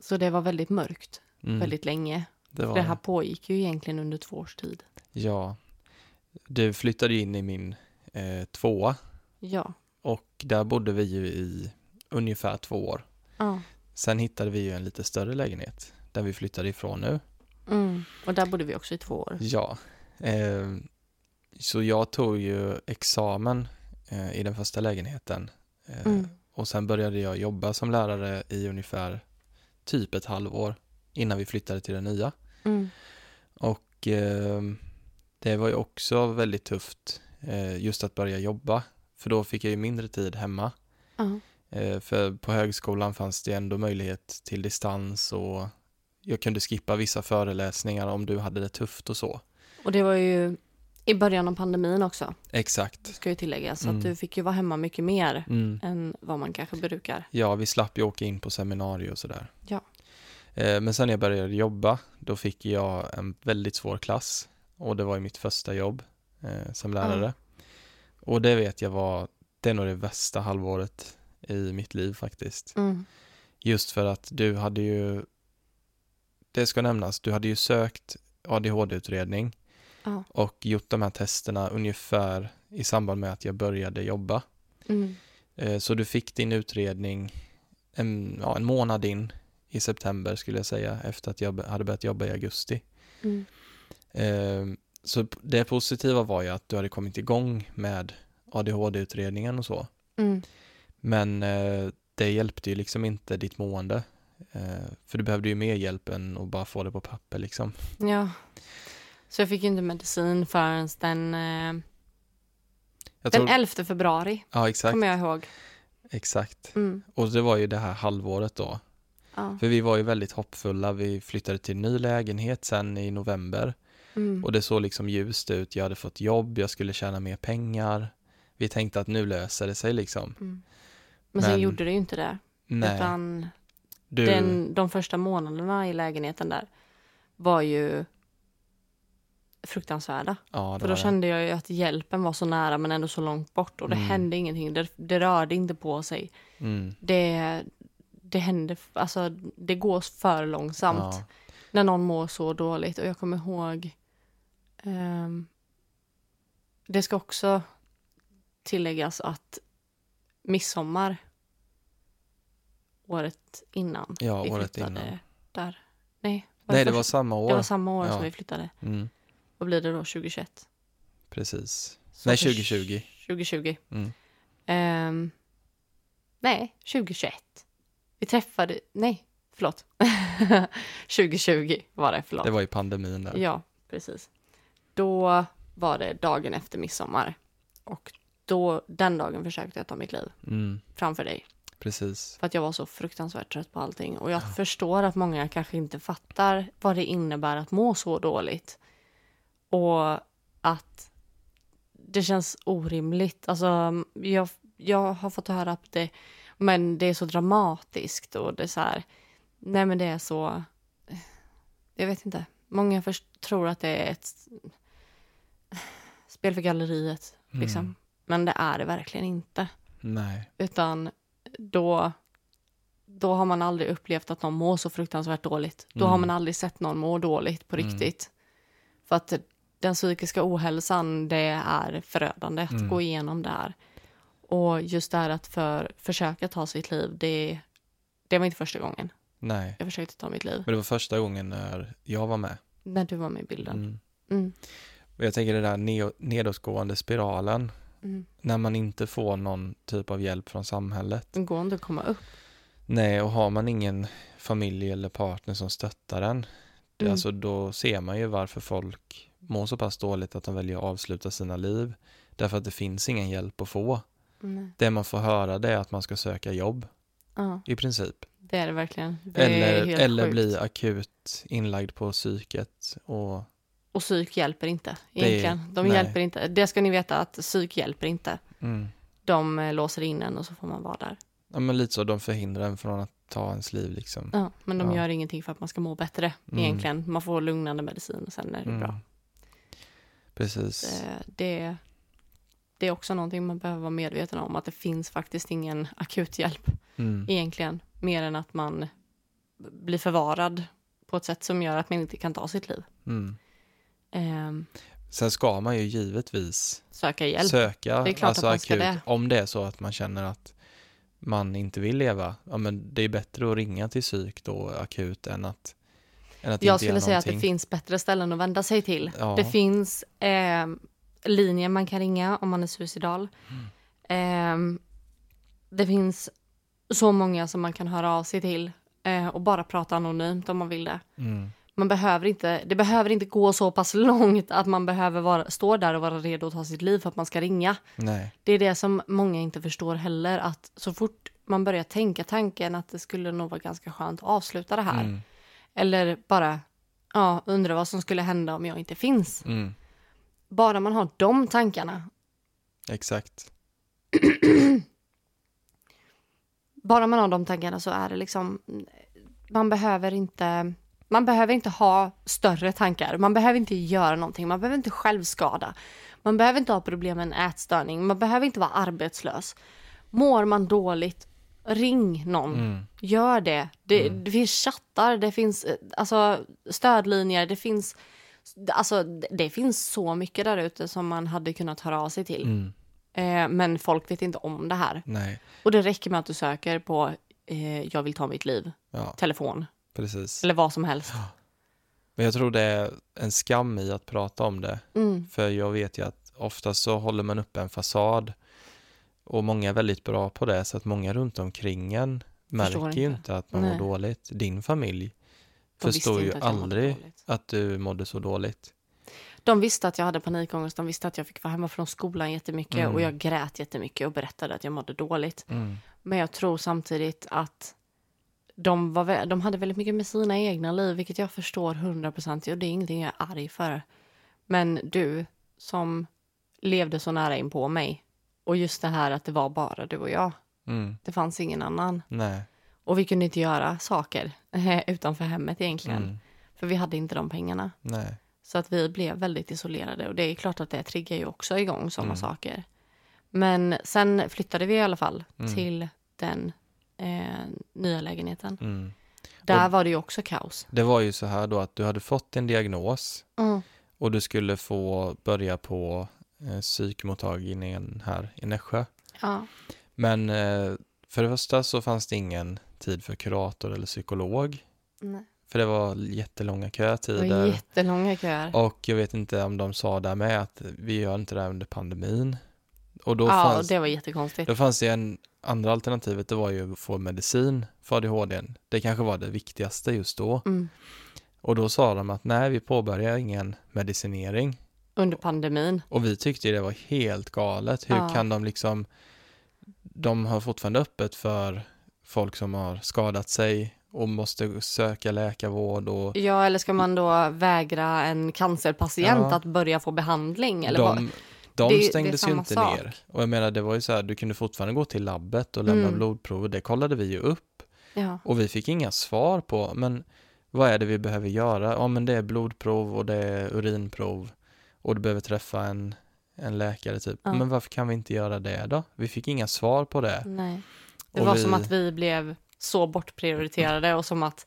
B: så det var väldigt mörkt,
A: Mm.
B: väldigt länge.
A: det var
B: Det här pågick ju egentligen under två års tid.
A: Ja. Du flyttade ju in i min eh, tvåa
B: Ja.
A: och där bodde vi ju i ungefär två år.
B: ja.
A: Sen hittade vi ju en lite större lägenhet där vi flyttade ifrån nu.
B: Mm. Och där bodde vi också i två år.
A: Ja. Eh, så jag tog ju examen eh, i den första lägenheten. Eh,
B: Mm.
A: Och sen började jag jobba som lärare i ungefär typ ett halvår innan vi flyttade till den nya.
B: Mm.
A: Och eh, det var ju också väldigt tufft eh, just att börja jobba. För då fick jag ju mindre tid hemma.
B: Ja.
A: Eh, för på högskolan fanns det ändå möjlighet till distans och jag kunde skippa vissa föreläsningar om du hade det tufft och så.
B: Och det var ju I början av pandemin också,
A: Exakt.
B: ska ju tilläggas. Så
A: Mm.
B: att du fick ju vara hemma mycket mer
A: Mm.
B: än vad man kanske brukar.
A: Ja, vi slapp ju åka in på seminarier och sådär.
B: Ja.
A: Eh, Men sen när jag började jobba, då fick jag en väldigt svår klass och det var ju mitt första jobb eh, som lärare. Och det vet jag var, det är nog det värsta halvåret i mitt liv faktiskt.
B: Mm.
A: Just för att du hade ju, det ska nämnas, du hade ju sökt ADHD-utredning
B: Ja.
A: och gjort de här testerna ungefär i samband med att jag började jobba.
B: Mm.
A: Eh, Så du fick din utredning en, ja, en månad in i september skulle jag säga efter att jag be- hade börjat jobba i augusti.
B: Mm.
A: Eh, Så p- det positiva var ju att du hade kommit igång med ADHD-utredningen och så.
B: Mm.
A: Men eh, det hjälpte ju liksom inte ditt mående. Eh, För du behövde ju mer hjälp än att bara få det på papper liksom.
B: Ja. Så jag fick ju inte medicin förrän den, eh,
A: Jag
B: den
A: tror,
B: 11 februari,
A: ja, exakt,
B: kommer jag ihåg.
A: exakt.
B: Mm.
A: Och det var ju det här halvåret då.
B: Ja.
A: För vi var ju väldigt hoppfulla. Vi flyttade till ny lägenhet sen i november.
B: Mm.
A: Och det såg liksom ljust ut, jag hade fått jobb, jag skulle tjäna mer pengar. Vi tänkte att nu löser det sig liksom.
B: Mm. Men sen
A: Men-
B: gjorde det ju inte det.
A: Nej,
B: Utan
A: du,
B: den, de första månaderna i lägenheten där var ju fruktansvärda.
A: ja, det var
B: För då
A: det.
B: kände jag ju att hjälpen var så nära men ändå så långt bort och det
A: Mm.
B: hände ingenting. Det, det rörde inte på sig.
A: mm,
B: Det, det hände, alltså det går för långsamt
A: ja,
B: när någon mår så dåligt. Och jag kommer ihåg, ehm, det ska också tilläggas att midsommar året innan
A: ja,
B: vi
A: året
B: flyttade
A: innan.
B: där. Nej,
A: Nej, det var
B: först-
A: samma år.
B: det var samma år
A: Ja.
B: som vi flyttade.
A: Mm,
B: Vad blir det då, 2021?
A: precis.
B: Så
A: Nej,
B: för-
A: 2020.
B: 2020.
A: Mm.
B: Ehm, nej, 2021. Vi träffade, nej, förlåt. 2020 var det, förlåt.
A: Det var ju pandemin där.
B: Ja, precis. Då var det dagen efter midsommar. Och då, den dagen försökte jag ta mitt liv
A: Mm,
B: framför dig.
A: precis.
B: För att jag var så fruktansvärt trött på allting. Och jag förstår att många kanske inte fattar vad det innebär att må så dåligt. Och att det känns orimligt. Alltså, jag, jag har fått höra att det, men det är så dramatiskt och det är så här, nej men det är så, jag vet inte. Många först, tror att det är ett spel för galleriet, liksom.
A: Mm.
B: Men det är det verkligen inte.
A: Nej,
B: Utan då, då har man aldrig upplevt att någon mår så fruktansvärt dåligt. Då har
A: Mm.
B: man aldrig sett någon må dåligt på
A: Mm.
B: riktigt. För att den psykiska ohälsan, det är förödande att
A: Mm.
B: gå igenom det här. Och just det här att för, försöka ta sitt liv, det, det var inte första gången
A: nej.
B: jag försökte ta mitt liv.
A: Men det var första gången när jag var med.
B: När du var med i bilden.
A: Mm.
B: Mm.
A: Och jag tänker den där neo- nedåtgående spiralen.
B: Mm.
A: När man inte får någon typ av hjälp från samhället.
B: Det går inte att komma upp.
A: Nej, och har man ingen familj eller partner som stöttar en, det,
B: Mm.
A: alltså, då ser man ju varför folk mår så pass dåligt att de väljer att avsluta sina liv. Därför att det finns ingen hjälp att få.
B: Nej.
A: Det man får höra det är att man ska söka jobb
B: Ja,
A: i princip.
B: det är det verkligen. Det är
A: Eller,
B: helt
A: eller
B: sjukt.
A: bli akut inlagd på psyket. Och,
B: Och psyk hjälper inte
A: Det-
B: egentligen. De
A: nej.
B: hjälper inte. Det ska ni veta att psyk hjälper inte.
A: mm,
B: De eh, låser in en och så får man vara där.
A: ja, men lite så, de förhindrar en från att ta ens liv liksom.
B: Ja, men de
A: Ja.
B: gör ingenting för att man ska må bättre
A: Mm.
B: egentligen. Man får lugnande medicin och sen är det bra.
A: Mm. Precis.
B: Eh, Det, det är också någonting man behöver vara medveten om. Att det finns faktiskt ingen akuthjälp
A: Mm.
B: egentligen. Mer än att man blir förvarad på ett sätt som gör att man inte kan ta sitt liv.
A: Mm.
B: Eh,
A: Sen ska man ju givetvis
B: Söka hjälp.
A: söka
B: Det är klart
A: alltså
B: att man ska
A: akut,
B: det.
A: om det är så att man känner att man inte vill leva, ja men det är bättre att ringa till psyk då akut än att, än att
B: Jag
A: inte
B: skulle
A: göra
B: säga att det
A: någonting.
B: finns bättre ställen att vända sig till.
A: Ja.
B: Det finns eh, linjer man kan ringa om man är suicidal. Eh, det finns så många som man kan höra av sig till eh, och bara prata anonymt om man vill det.
A: Mm,
B: Man behöver inte, det behöver inte gå så pass långt att man behöver vara, stå där och vara redo att ta sitt liv för att man ska ringa.
A: nej,
B: Det är det som många inte förstår heller, att så fort man börjar tänka tanken att det skulle nog vara ganska skönt att avsluta det här,
A: mm,
B: eller bara ja, undrar vad som skulle hända om jag inte finns.
A: mm,
B: Bara man har de tankarna.
A: Exakt.
B: Bara man har de tankarna så är det liksom... Man behöver inte... Man behöver inte ha större tankar. Man behöver inte göra någonting. Man behöver inte självskada. Man behöver inte ha problem med en ätstörning. Man behöver inte vara arbetslös. Mår man dåligt, ring någon.
A: Mm.
B: Gör det. Det, det finns chattar, det finns eh, alltså, stödlinjer, det finns... Alltså, det, det finns så mycket där ute som man hade kunnat höra av sig till.
A: Mm.
B: Eh, men folk vet inte om det här.
A: Nej,
B: Och det räcker med att du söker på eh, jag vill ta mitt liv,
A: ja,
B: telefon
A: precis.
B: eller vad som helst.
A: Men jag tror det är en skam i att prata om det.
B: Mm,
A: För jag vet ju att ofta så håller man upp en fasad och många är väldigt bra på det så att många runt omkring en
B: Förstår
A: märker ju
B: inte.
A: inte att man
B: Nej.
A: mår dåligt. Din familj
B: de visste
A: förstår ju
B: inte att jag mådde
A: aldrig
B: dåligt.
A: att du mådde så dåligt.
B: De visste att jag hade panikångest, de visste att jag fick vara hemma från skolan jättemycket
A: Mm.
B: och jag grät jättemycket och berättade att jag mådde dåligt.
A: Mm.
B: Men jag tror samtidigt att de, var, vä- de hade väldigt mycket med sina egna liv, vilket jag förstår 100%. Och det är ingenting jag är arg för. Men du som levde så nära in på mig och just det här att det var bara du och jag.
A: Mm.
B: Det fanns ingen annan.
A: Nej.
B: Och vi kunde inte göra saker eh, utanför hemmet egentligen.
A: Mm.
B: För vi hade inte de pengarna.
A: Nej.
B: Så att vi blev väldigt isolerade och det är klart att det triggar ju också igång sådana
A: Mm.
B: saker. Men sen flyttade vi i alla fall
A: Mm.
B: till den eh, nya lägenheten.
A: Mm.
B: Där var det ju också kaos.
A: Det var ju så här då att du hade fått en diagnos
B: Mm.
A: och du skulle få börja på eh, psykmottagningen här i Nässjö.
B: Ja.
A: Men eh, för det första så fanns det ingen tid för kurator eller psykolog.
B: Nej.
A: För det var jättelånga
B: Det var
A: kötider.
B: jättelånga köer.
A: Och jag vet inte om de sa där med att vi gör inte det här under pandemin. Och då,
B: ja, och
A: fanns,
B: det var jättekonstigt.
A: då fanns det en andra alternativet, det var ju att få medicin för ADHD. Det kanske var det viktigaste just då.
B: Mm.
A: Och då sa de att nej, vi påbörjar ingen medicinering.
B: Under pandemin.
A: Och vi tyckte ju det var helt galet. Hur
B: Ja.
A: kan de liksom, de har fortfarande öppet för folk som har skadat sig och måste söka läkarvård och
B: Ja, eller ska man då vägra en cancerpatient
A: Ja.
B: att börja få behandling? Eller vad?
A: de, de
B: Det är ju- det är
A: stängdes ju
B: samma
A: inte
B: sak.
A: ner. Och jag menar, det var ju så här, du kunde fortfarande gå till labbet och lämna
B: Mm.
A: blodprover. Det kollade vi ju upp
B: Ja.
A: och vi fick inga svar på, men vad är det vi behöver göra? Ja, men det är blodprov och det är urinprov och du behöver träffa en, en läkare typ.
B: Ja.
A: Men varför kan vi inte göra det då? Vi fick inga svar på det.
B: Nej. Det
A: typ. Och
B: var
A: vi-
B: som att vi blev så bortprioriterade och som att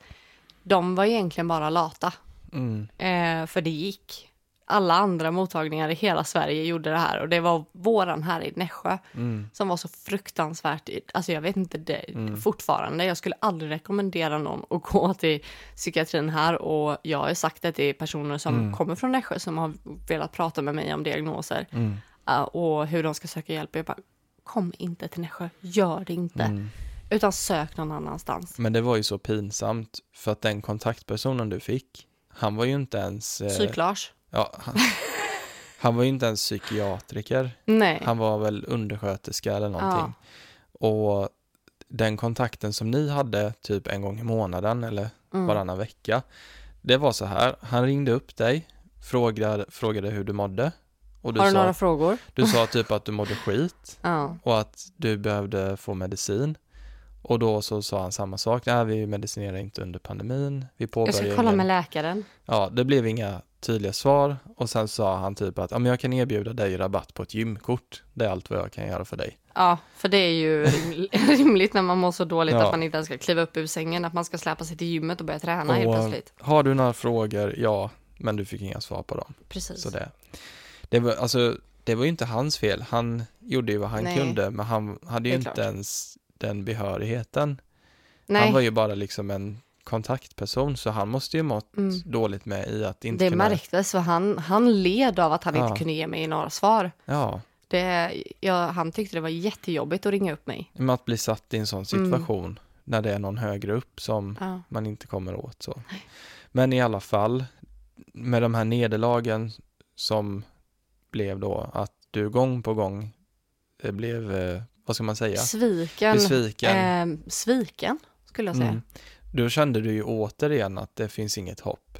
B: de var egentligen bara lata.
A: Mm,
B: Eh, för det gick. Alla andra mottagningar i hela Sverige gjorde det här och det var våran här i Nässjö
A: mm,
B: som var så fruktansvärt, alltså jag vet inte det fortfarande, jag skulle aldrig rekommendera någon att gå till psykiatrin här och jag har sagt det till personer som kommer från Nässjö som har velat prata med mig om diagnoser
A: mm,
B: eh, och hur de ska söka hjälp. Jag bara, kom inte till Nässjö, gör det inte,
A: mm.
B: utan sök någon annanstans.
A: Men det var ju så pinsamt för att den kontaktpersonen du fick, han var ju inte ens... eh,
B: Psyklars?
A: ja, han, han var ju inte ens psykiatriker.
B: Nej.
A: Han var väl undersköterska eller någonting.
B: Ja.
A: Och den kontakten som ni hade typ en gång i månaden eller
B: Mm.
A: varannan vecka. Det var så här, han ringde upp dig, frågade, frågade hur du mådde. Och du
B: Har du
A: sa,
B: några frågor?
A: du sa typ att du mådde skit
B: Ja.
A: och att du behövde få medicin. Och då så sa han samma sak, nej vi medicinerar inte under pandemin, vi
B: Jag
A: påbörjar
B: ska kolla
A: ingen-
B: med läkaren.
A: Ja, det blev inga tydliga svar och sen sa han typ att ja, men jag kan erbjuda dig rabatt på ett gymkort. Det är allt vad jag kan göra för dig.
B: Ja, för det är ju riml- rimligt när man mår så dåligt
A: Ja.
B: att man inte ens ska kliva upp ur sängen, att man ska släpa sig till gymmet och börja träna helt
A: och,
B: plötsligt.
A: Har du några frågor? Ja, men du fick inga svar på dem.
B: Precis.
A: Så det. Det var, alltså, det var ju inte hans fel. Han gjorde ju vad han
B: Nej.
A: kunde, men han hade ju
B: Det är
A: inte
B: klart.
A: ens den behörigheten.
B: Nej,
A: Han var ju bara liksom en kontaktperson, så han måste ju mått
B: Mm.
A: dåligt med i att inte
B: det
A: kunna...
B: märktes för han, han led av att han
A: Ja.
B: inte kunde ge mig några svar.
A: Ja,
B: Det, ja, han tyckte det var jättejobbigt att ringa upp mig.
A: med att bli satt i en
B: Mm.
A: sån situation när det är någon högre upp som
B: Ja.
A: man inte kommer åt. Så. Men i alla fall, med de här nederlagen som blev då att du gång på gång eh, blev, eh, vad ska man säga,
B: Sviken.
A: besviken.
B: Eh, sviken, skulle jag säga.
A: Mm. Då kände du ju återigen att det finns inget hopp.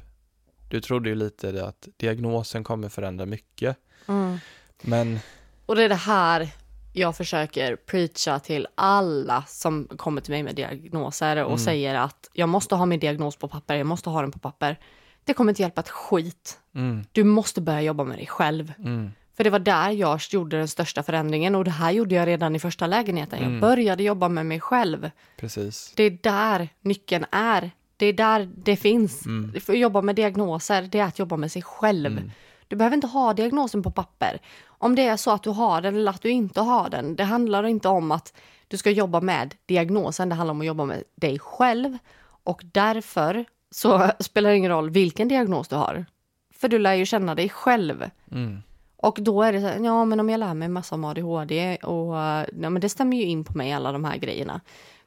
A: Du trodde ju lite det att diagnosen kommer förändra mycket.
B: Mm.
A: Men
B: Och det är det här jag försöker preacha till alla som kommer till mig med diagnoser
A: Mm.
B: och säger att jag måste ha min diagnos på papper, jag måste ha den på papper. Det kommer inte hjälpa ett skit.
A: mm,
B: Du måste börja jobba med dig själv.
A: mm,
B: För det var där jag gjorde den största förändringen och det här gjorde jag redan i första lägenheten.
A: Mm.
B: Jag började jobba med mig själv.
A: precis.
B: Det är där nyckeln är. Det är där det finns. För att jobba med diagnoser, det är att jobba med sig själv. Du behöver inte ha diagnosen på papper. Om det är så att du har den eller att du inte har den, det handlar inte om att du ska jobba med diagnosen, det handlar om att jobba med dig själv. Och därför så spelar det ingen roll vilken diagnos du har. För du lär ju känna dig själv.
A: Mm,
B: Och då är det så här, ja men om jag lär mig massa om ADHD och eh, ja, men det stämmer ju in på mig alla de här grejerna.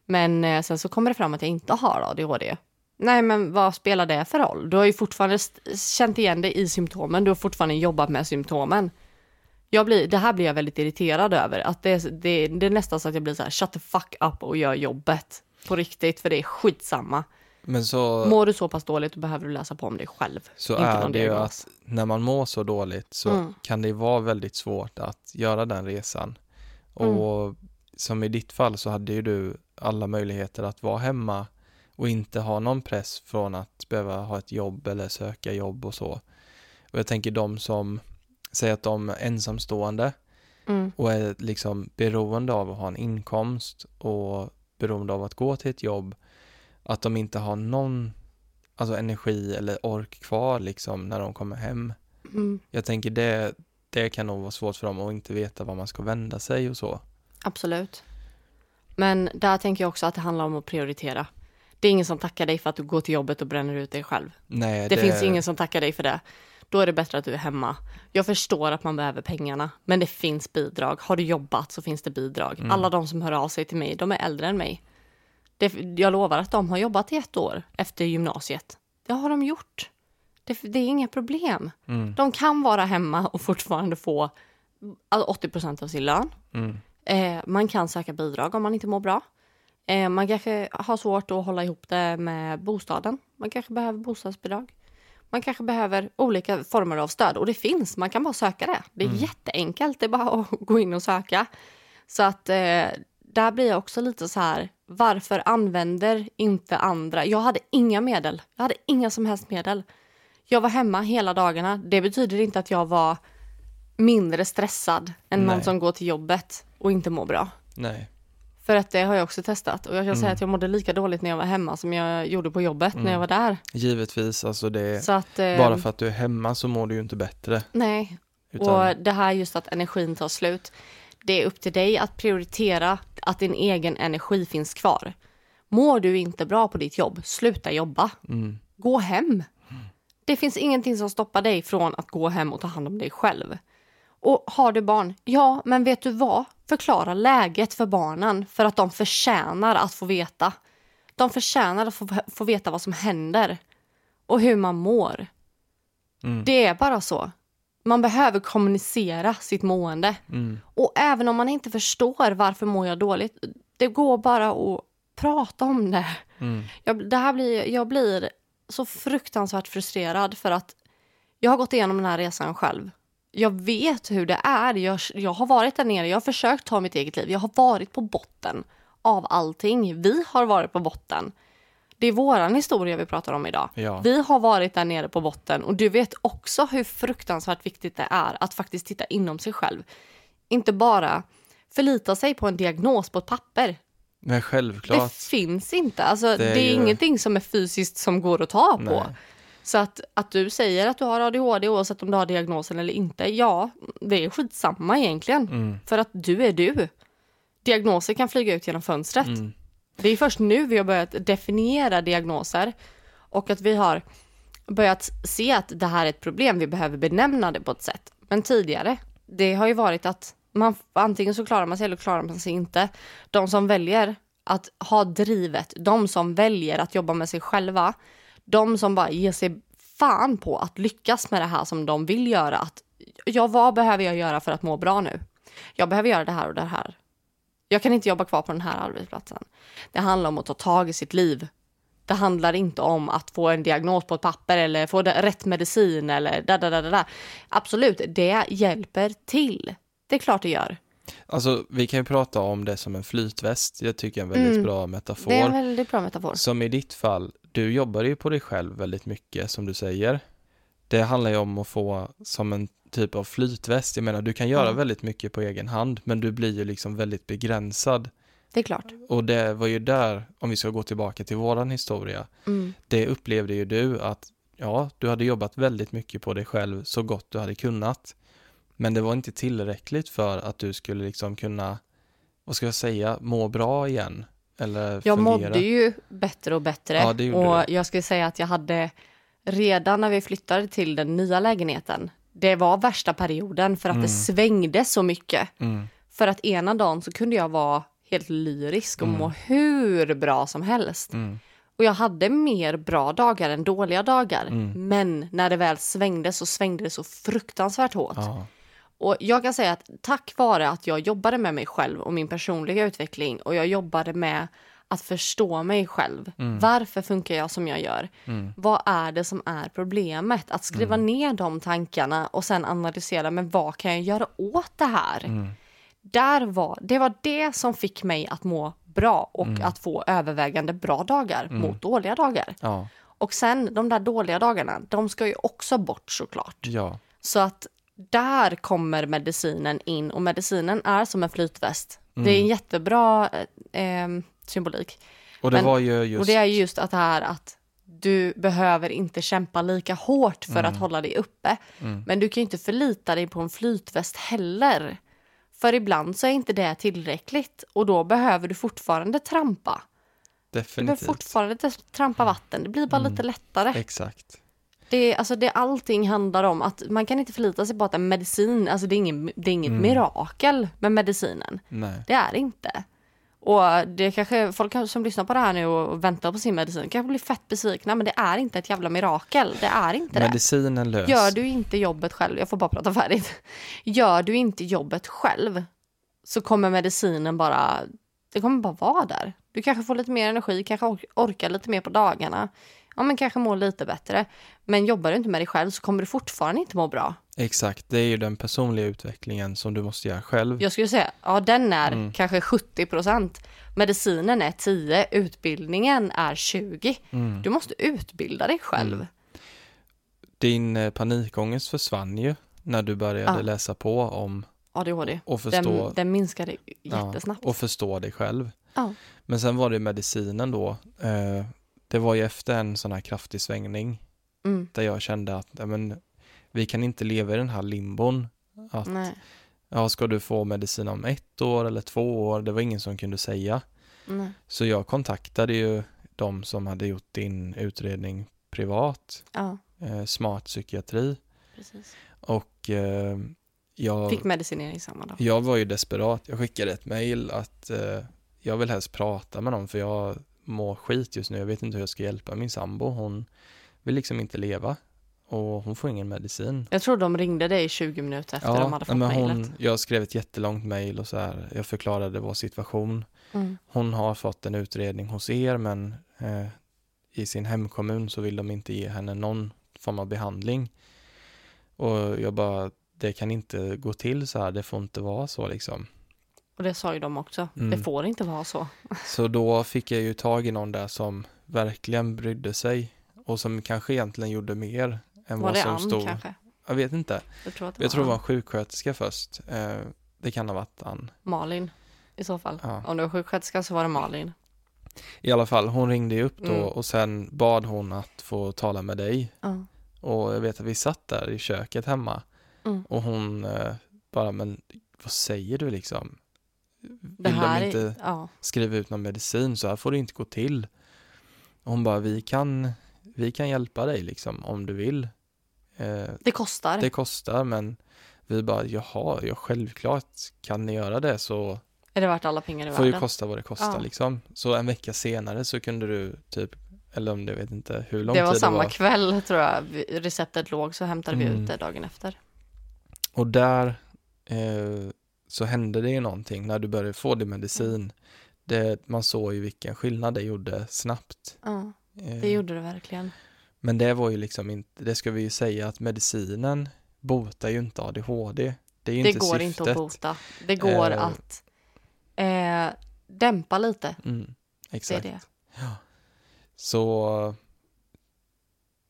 B: Men eh, sen så kommer det fram att jag inte har ADHD. Nej men vad spelar det för roll? Du har ju fortfarande st- känt igen dig i symptomen, du har fortfarande jobbat med symptomen. Jag blir, det här blir jag väldigt irriterad över, att det, är- det, det är nästan så att jag blir så här, shut the fuck up och gör jobbet. På riktigt, för det är skitsamma.
A: men så...
B: Mår du så pass dåligt då behöver du läsa på om dig själv.
A: så
B: inte
A: är
B: någon
A: det ju
B: diagnos.
A: att när man mår så dåligt så kan det vara väldigt svårt att göra den resan. Och som i ditt fall så hade ju du alla möjligheter att vara hemma och inte ha någon press från att behöva ha ett jobb eller söka jobb och så. Och jag tänker de som säger att de är ensamstående
B: Mm.
A: och är liksom beroende av att ha en inkomst och beroende av att gå till ett jobb, att de inte har någon alltså energi eller ork kvar liksom när de kommer hem.
B: Mm.
A: Jag tänker det, det kan nog vara svårt för dem att inte veta var man ska vända sig och så.
B: Absolut. Men där tänker jag också att det handlar om att prioritera. Det är ingen som tackar dig för att du går till jobbet och bränner ut dig själv.
A: Nej,
B: Det, finns ingen som tackar dig för det. Då är det bättre att du är hemma. Jag förstår att man behöver pengarna, men det finns bidrag. Har du jobbat så finns det bidrag.
A: Mm.
B: Alla de som hör av sig till mig, de är äldre än mig. Det, jag lovar att de har jobbat i ett år efter gymnasiet. Det har de gjort. Det, det är inga problem.
A: Mm.
B: De kan vara hemma och fortfarande få all- 80 av sin lön.
A: Mm.
B: Eh, man kan söka bidrag om man inte mår bra. Eh, man kanske har svårt att hålla ihop det med bostaden. Man kanske behöver bostadsbidrag. Man kanske behöver olika former av stöd och det finns. Man kan bara söka det. Det är jätteenkelt. Det är bara att gå in och söka. Så att eh, där blir jag också lite så här. Varför använder inte andra? Jag hade inga medel. Jag hade inga som helst medel. Jag var hemma hela dagarna. Det betyder inte att jag var mindre stressad än någon
A: Nej.
B: som går till jobbet och inte mår bra.
A: Nej.
B: För att det har jag också testat och jag kan säga att jag mådde lika dåligt när jag var hemma som jag gjorde på jobbet när jag var där.
A: Givetvis, alltså det,
B: Så att, eh,
A: bara för att du är hemma så mår du ju inte bättre.
B: Nej,
A: Utan,
B: och det här just att energin tar slut. Det är upp till dig att prioritera att din egen energi finns kvar. Mår du inte bra på ditt jobb, sluta jobba.
A: mm,
B: Gå hem. Det finns ingenting som stoppar dig från att gå hem och ta hand om dig själv. Och har du barn? Ja, men vet du vad? Förklara läget för barnen för att de förtjänar att få veta. De förtjänar att få, få veta vad som händer och hur man mår.
A: Mm.
B: Det är bara så. Man behöver kommunicera sitt mående.
A: mm,
B: Och även om man inte förstår varför mår jag dåligt, det går bara att prata om det.
A: mm,
B: Jag, det här blir, jag blir så fruktansvärt frustrerad för att jag har gått igenom den här resan själv. Jag vet hur det är. Jag, jag har varit där nere. Jag har försökt ta mitt eget liv. Jag har varit på botten av allting. Vi har varit på botten. Det är våran historia vi pratar om idag.
A: ja.
B: Vi har varit där nere på botten och du vet också hur fruktansvärt viktigt det är att faktiskt titta inom sig själv. Inte bara förlita sig på en diagnos på ett papper.
A: Men
B: Det
A: självklart.
B: finns inte. Alltså, det är,
A: är ju-
B: ingenting som är fysiskt som går att ta på.
A: Nej.
B: Så att, att du säger att du har ADHD oavsett om du har diagnosen eller inte, ja, det är skitsamma egentligen.
A: Mm,
B: För att du är du. Diagnoser kan flyga ut genom fönstret.
A: mm,
B: Det är först nu vi har börjat definiera diagnoser och att vi har börjat se att det här är ett problem, vi behöver benämna det på ett sätt. Men tidigare, det har ju varit att man, antingen så klarar man sig eller klarar man sig inte. De som väljer att ha drivet, de som väljer att jobba med sig själva, de som bara ger sig fan på att lyckas med det här som de vill göra. Att, ja, vad behöver jag göra för att må bra nu? Jag behöver göra det här och det här. Jag kan inte jobba kvar på den här arbetsplatsen. Det handlar om att ta tag i sitt liv. det handlar inte om att få en diagnos på ett papper eller få det- rätt medicin eller där, där, där, där, där. Absolut, det hjälper till. Det är klart det gör.
A: Alltså, vi kan ju prata om det som en flytväst. Jag tycker är en väldigt
B: Mm.
A: bra metafor.
B: Det är en väldigt bra metafor.
A: Som i ditt fall, du jobbar ju på dig själv väldigt mycket som du säger. Det handlar ju om att få som en typ av flytväst. Jag menar, du kan göra
B: Mm.
A: väldigt mycket på egen hand, men du blir ju liksom väldigt begränsad.
B: Det är klart.
A: Och det var ju där, om vi ska gå tillbaka till våran historia,
B: Mm.
A: det upplevde ju du att ja, du hade jobbat väldigt mycket på dig själv så gott du hade kunnat. Men det var inte tillräckligt för att du skulle liksom kunna, vad ska jag säga, må bra igen. Eller
B: Jag
A: fungera.
B: mådde ju bättre och bättre.
A: Ja, det gjorde
B: och jag skulle säga att jag hade redan när vi flyttade till den nya lägenheten. Det var värsta perioden för att det
A: Mm.
B: svängde så mycket.
A: Mm,
B: För att ena dagen så kunde jag vara helt lyrisk och
A: Mm.
B: må hur bra som helst.
A: mm,
B: Och jag hade mer bra dagar än dåliga dagar.
A: Mm.
B: Men när det väl svängde så svängde det så fruktansvärt hårt.
A: ja.
B: Och jag kan säga att tack vare att jag jobbade med mig själv och min personliga utveckling och jag jobbade med att förstå mig själv. Varför funkar jag som jag gör?
A: Mm.
B: Vad är det som är problemet? Att skriva ner de tankarna och sen analysera, men vad kan jag göra åt det här? Där var, det var det som fick mig att må bra och att få övervägande bra dagar mot dåliga dagar.
A: Ja,
B: Och sen de där dåliga dagarna, de ska ju också bort såklart.
A: ja,
B: Så att där kommer medicinen in och medicinen är som en flytväst. Det
A: Mm.
B: är en jättebra eh, em, symbolik.
A: och det
B: Men-
A: var ju just,
B: Och det är ju just att det här att du behöver inte kämpa lika hårt för
A: Mm.
B: att hålla dig uppe. Men du kan ju inte förlita dig på en flytväst heller. För ibland så är inte det tillräckligt och då behöver du fortfarande trampa. Du behöver
A: definitivt, Mm.
B: fortfarande t- trampa vatten. Det blir bara lite lättare.
A: exakt,
B: Det, är- alltså det, allting handlar om att man kan inte förlita sig på att en medicin, alltså det är, ingen, det är inget mirakel med medicinen.
A: nej,
B: Det är det inte. Och det kanske, folk som lyssnar på det här nu och väntar på sin medicin kanske blir fett besvikna men det är inte ett jävla mirakel. Det är inte det.
A: medicinen lös,
B: Gör du inte jobbet själv, jag får bara prata färdigt. Gör du inte jobbet själv så kommer medicinen bara, det kommer bara vara där. Du kanske får lite mer energi, kanske or- orkar lite mer på dagarna. Ja men kanske mår lite bättre. Men jobbar du inte med dig själv så kommer du fortfarande inte må bra.
A: exakt, det är ju den personliga utvecklingen som du måste göra själv,
B: Jag skulle säga, ja den är
A: Mm.
B: kanske 70 procent. Medicinen är 10, utbildningen är 20.
A: Mm.
B: Du måste utbilda dig själv.
A: din eh, panikångest försvann ju när du började
B: Ja.
A: läsa på om
B: ADHD.
A: och förstå,
B: Den, den minskade jättesnabbt.
A: Ja, och förstå dig själv.
B: Ja.
A: Men sen var det medicinen då, eh, det var ju efter en sån här kraftig svängning
B: Mm.
A: där jag kände att, ja, men, vi kan inte leva i den här limbon, att
B: Nej,
A: ja, ska du få medicin om ett år eller två år, det var ingen som kunde säga.
B: nej.
A: Så jag kontaktade ju de som hade gjort din utredning privat,
B: Ja,
A: eh, Smart psykiatri
B: precis.
A: och eh, jag,
B: Fick medicinering samma dag.
A: jag var ju desperat. Jag skickade ett mejl att eh, jag vill helst prata med dem för jag mår skit just nu. Jag vet inte hur jag ska hjälpa min sambo. Hon vill liksom inte leva och hon får ingen medicin.
B: Jag tror de ringde dig 20 minuter efter de hade fått
A: men
B: mejlet.
A: hon, jag skrev ett jättelångt mejl och så här. Jag förklarade vår situation.
B: Mm.
A: hon har fått en utredning hos er men eh, i sin hemkommun så vill de inte ge henne någon form av behandling. Och jag bara, det kan inte gå till så här, det får inte vara så liksom.
B: Och det sa ju de också.
A: Mm.
B: Det får inte vara så.
A: Så då fick jag ju tag i någon där som verkligen brydde sig och som kanske egentligen gjorde mer än
B: Var
A: vad
B: det
A: som
B: Ann
A: stod.
B: kanske?
A: Jag vet inte.
B: Jag tror, att det
A: Jag tror det var
B: Ann.
A: en sjuksköterska först. Eh, det kan ha varit Ann.
B: Malin i så fall.
A: Ja.
B: Om du var sjuksköterska så var det Malin.
A: I alla fall, hon ringde ju upp då
B: Mm.
A: och sen bad hon att få tala med dig
B: Ja.
A: Och jag vet att vi satt där i köket hemma
B: Mm.
A: och hon eh, bara, men vad säger du liksom?
B: Det
A: Vill
B: här
A: de
B: är-
A: inte
B: ja.
A: skriva ut någon medicin? Så här får det inte gå till. Och hon bara, vi kan, vi kan hjälpa dig liksom om du vill. Eh,
B: Det kostar.
A: det kostar men vi bara, jaha, ja självklart kan ni göra det så
B: Är det värt alla pengar i
A: får ju
B: världen?
A: kosta vad det kostar
B: Ja.
A: liksom. Så en vecka senare så kunde du typ, eller om det vet inte hur lång
B: Det var
A: tid
B: samma
A: det var.
B: kväll tror jag Vi- receptet låg så hämtade vi
A: Mm.
B: ut det dagen efter.
A: Och där eh, så hände det ju någonting när du
B: Mm.
A: började få din medicin. Det, man såg ju vilken skillnad det gjorde snabbt.
B: Ja.
A: Eh,
B: Det gjorde det verkligen.
A: Men det var ju liksom inte, det ska vi ju säga att medicinen botar ju inte ADHD. Det är ju
B: Det
A: inte
B: går
A: syftet.
B: inte att bota. Det går
A: Eh,
B: att eh, dämpa lite.
A: Mm,
B: Det är
A: exakt.
B: det.
A: Så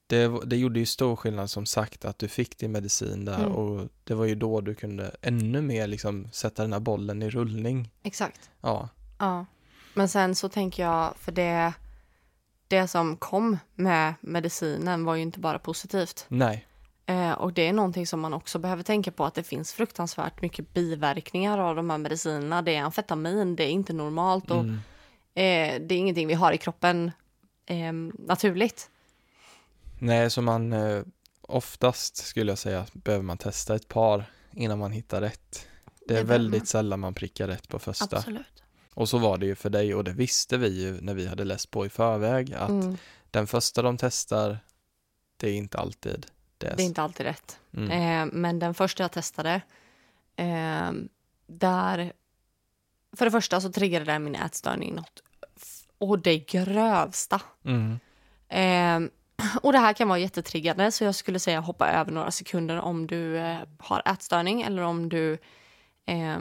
A: det, var- det gjorde ju stor skillnad som sagt att du fick din medicin där
B: Mm.
A: och det var ju då du kunde ännu mer liksom sätta den här bollen i rullning.
B: Exakt.
A: Ja,
B: Ja. Men sen så tänker jag, för det, det som kom med medicinen var ju inte bara positivt.
A: nej,
B: Eh, och det är någonting som man också behöver tänka på att det finns fruktansvärt mycket biverkningar av de här medicinerna. Det är amfetamin, det är inte normalt och
A: mm,
B: eh, det är ingenting vi har i kroppen eh, naturligt.
A: nej, så man eh, oftast skulle jag säga behöver man testa ett par innan man hittar rätt. Det
B: Det
A: är
B: behöver man.
A: väldigt sällan man prickar rätt på första.
B: Absolut.
A: Och så var det ju för dig och det visste vi ju när vi hade läst på i förväg att
B: Mm,
A: den första de testar, det är inte alltid det.
B: det är inte alltid rätt.
A: Mm.
B: Eh, men den första jag testade, eh, där... För det första så triggade den min ätstörning något. f- Och det grövsta.
A: Mm.
B: Eh, och det här kan vara jättetriggande så jag skulle säga hoppa över några sekunder om du eh, har ätstörning eller om du eh,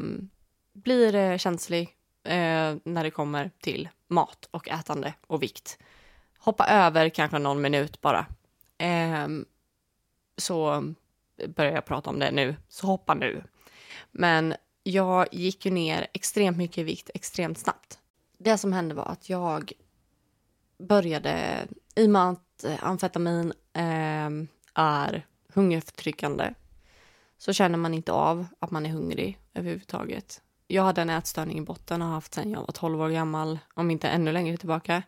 B: blir eh, känslig eh, när det kommer till mat och ätande och vikt. Hoppa över kanske någon minut bara. Eh, så börjar jag prata om det nu, så hoppa nu. Men jag gick ju ner extremt mycket i vikt extremt snabbt. Det som hände var att jag började, i och med att eh, amfetamin ehm, är hungerförtryckande så känner man inte av att man är hungrig överhuvudtaget. Jag hade en ätstörning i botten och har haft sedan jag var 12 år gammal, om inte ännu längre tillbaka.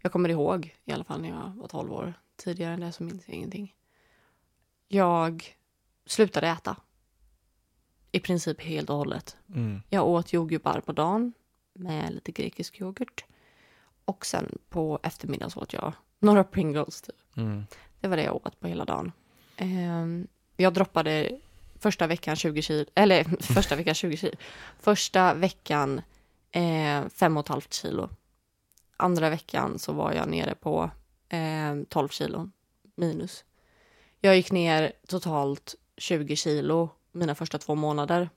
B: Jag kommer ihåg, i alla fall när jag var 12 år. Tidigare än det så minns jag ingenting. Jag slutade äta. I princip helt och hållet.
A: Mm.
B: Jag åt jordgubbar på dagen med lite grekisk yoghurt. Och sen på eftermiddagen så åt jag några Pringles. Typ.
A: Mm.
B: Det var det jag åt på hela dagen. Ehm, jag droppade första veckan 20 kilo, eller första veckan 20 kilo. Första veckan eh, fem och ett halvt kilo. Andra veckan så var jag nere på eh, 12 kilo minus. Jag gick ner totalt 20 kilo mina första två månader,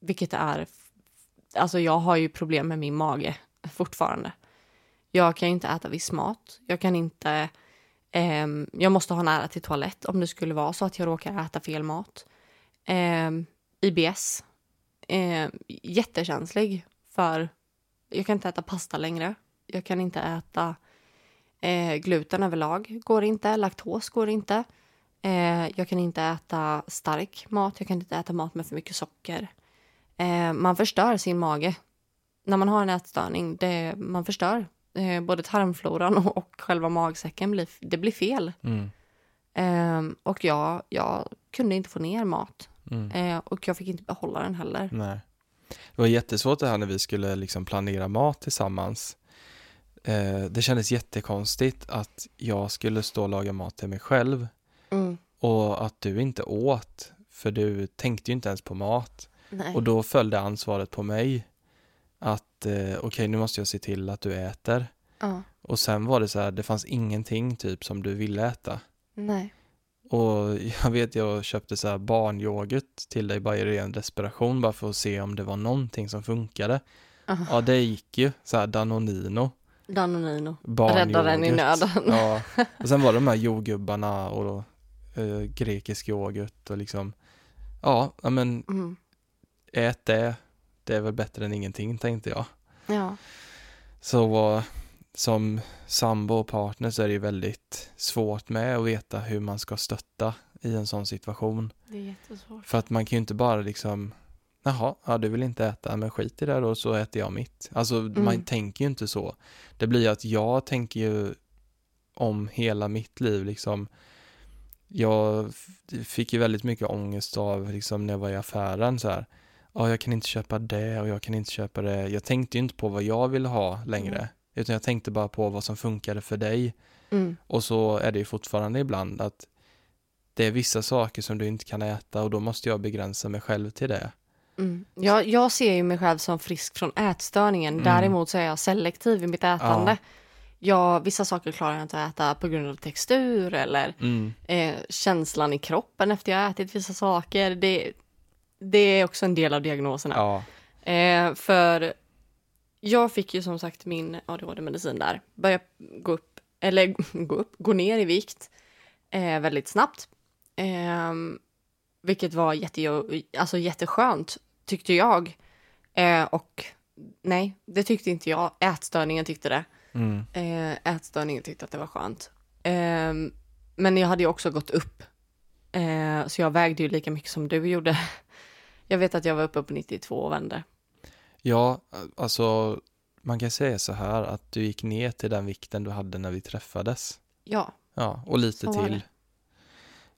B: vilket är... f- Alltså jag har ju problem med min mage fortfarande. Jag kan ju inte äta viss mat. Jag kan inte... Ehm, jag måste ha nära till toalett om det skulle vara så att jag råkar äta fel mat. Ehm, IBS. Ehm, jättekänslig för... Jag kan inte äta pasta längre. Jag kan inte äta eh, gluten överlag. Går inte. Laktos går inte. Eh, jag kan inte äta stark mat. Jag kan inte äta mat med för mycket socker. Eh, man förstör sin mage. När man har en ätstörning, det, man förstör eh, både tarmfloran och, och själva magsäcken. Blir, det blir fel.
A: Mm.
B: Eh, och jag, jag kunde inte få ner mat.
A: Mm.
B: Eh, och jag fick inte behålla den heller.
A: Nej. Det var jättesvårt det här när vi skulle liksom planera mat tillsammans. Eh, det kändes jättekonstigt att jag skulle stå och laga mat till mig själv
B: Mm.
A: och att du inte åt, för du tänkte ju inte ens på mat.
B: Nej.
A: Och då följde ansvaret på mig att eh, okej, nu måste jag se till att du äter.
B: ja.
A: Och sen var det så här, det fanns ingenting typ som du ville äta.
B: Nej.
A: Och jag vet jag köpte så här barnyoghurt till dig bara i ren desperation bara för att se om det var någonting som funkade.
B: Aha.
A: Ja, det gick ju. Så här Danonino,
B: Danonino.
A: barnyoghurt.
B: den i nöden.
A: Ja, och sen var det de här jordgubbarna och eh, grekisk yoghurt och liksom ja, ja, men
B: Mm.
A: ät det. Det är väl bättre än ingenting tänkte jag.
B: Ja.
A: Så eh, som sambo och partner så är det ju väldigt svårt med att veta hur man ska stötta i en sån situation.
B: Det är jättesvårt.
A: För att man kan ju inte bara liksom, jaha, ja, du vill inte äta, men skit i det då så äter jag mitt. Alltså man
B: Mm.
A: tänker ju inte så. Det blir ju att jag tänker ju om hela mitt liv liksom. Jag f- fick ju väldigt mycket ångest av liksom när jag var i affären så här. Ja, jag kan inte köpa det och jag kan inte köpa det. Jag tänkte ju inte på vad jag ville ha längre,
B: Mm.
A: utan jag tänkte bara på vad som funkade för dig.
B: Mm.
A: Och så är det ju fortfarande ibland att det är vissa saker som du inte kan äta och då måste jag begränsa mig själv till det.
B: Mm. Jag, jag ser ju mig själv som frisk från ätstörningen.
A: Mm.
B: Däremot så är jag selektiv i mitt ätande. ja, vissa saker klarar jag inte att äta på grund av textur eller
A: Mm.
B: eh, känslan i kroppen efter jag har ätit vissa saker. Det, det är också en del av diagnoserna.
A: Ja.
B: Eh, för jag fick ju som sagt min ADHD-medicin där. Började gå upp, eller gå upp, gå ner i vikt eh, väldigt snabbt. Ehm, vilket var jätte, alltså jätteskönt, tyckte jag. Eh, och nej, det tyckte inte jag. Ätstörningen tyckte det.
A: Mm.
B: Eh, ätstörningen tyckte att det var skönt. Ehm, men jag hade ju också gått upp. Eh, så jag vägde ju lika mycket som du gjorde. Jag vet att jag var uppe på 92 och vände.
A: ja, alltså man kan säga så här att du gick ner till den vikten du hade när vi träffades.
B: Ja,
A: Ja, och lite
B: Så var
A: till.
B: det.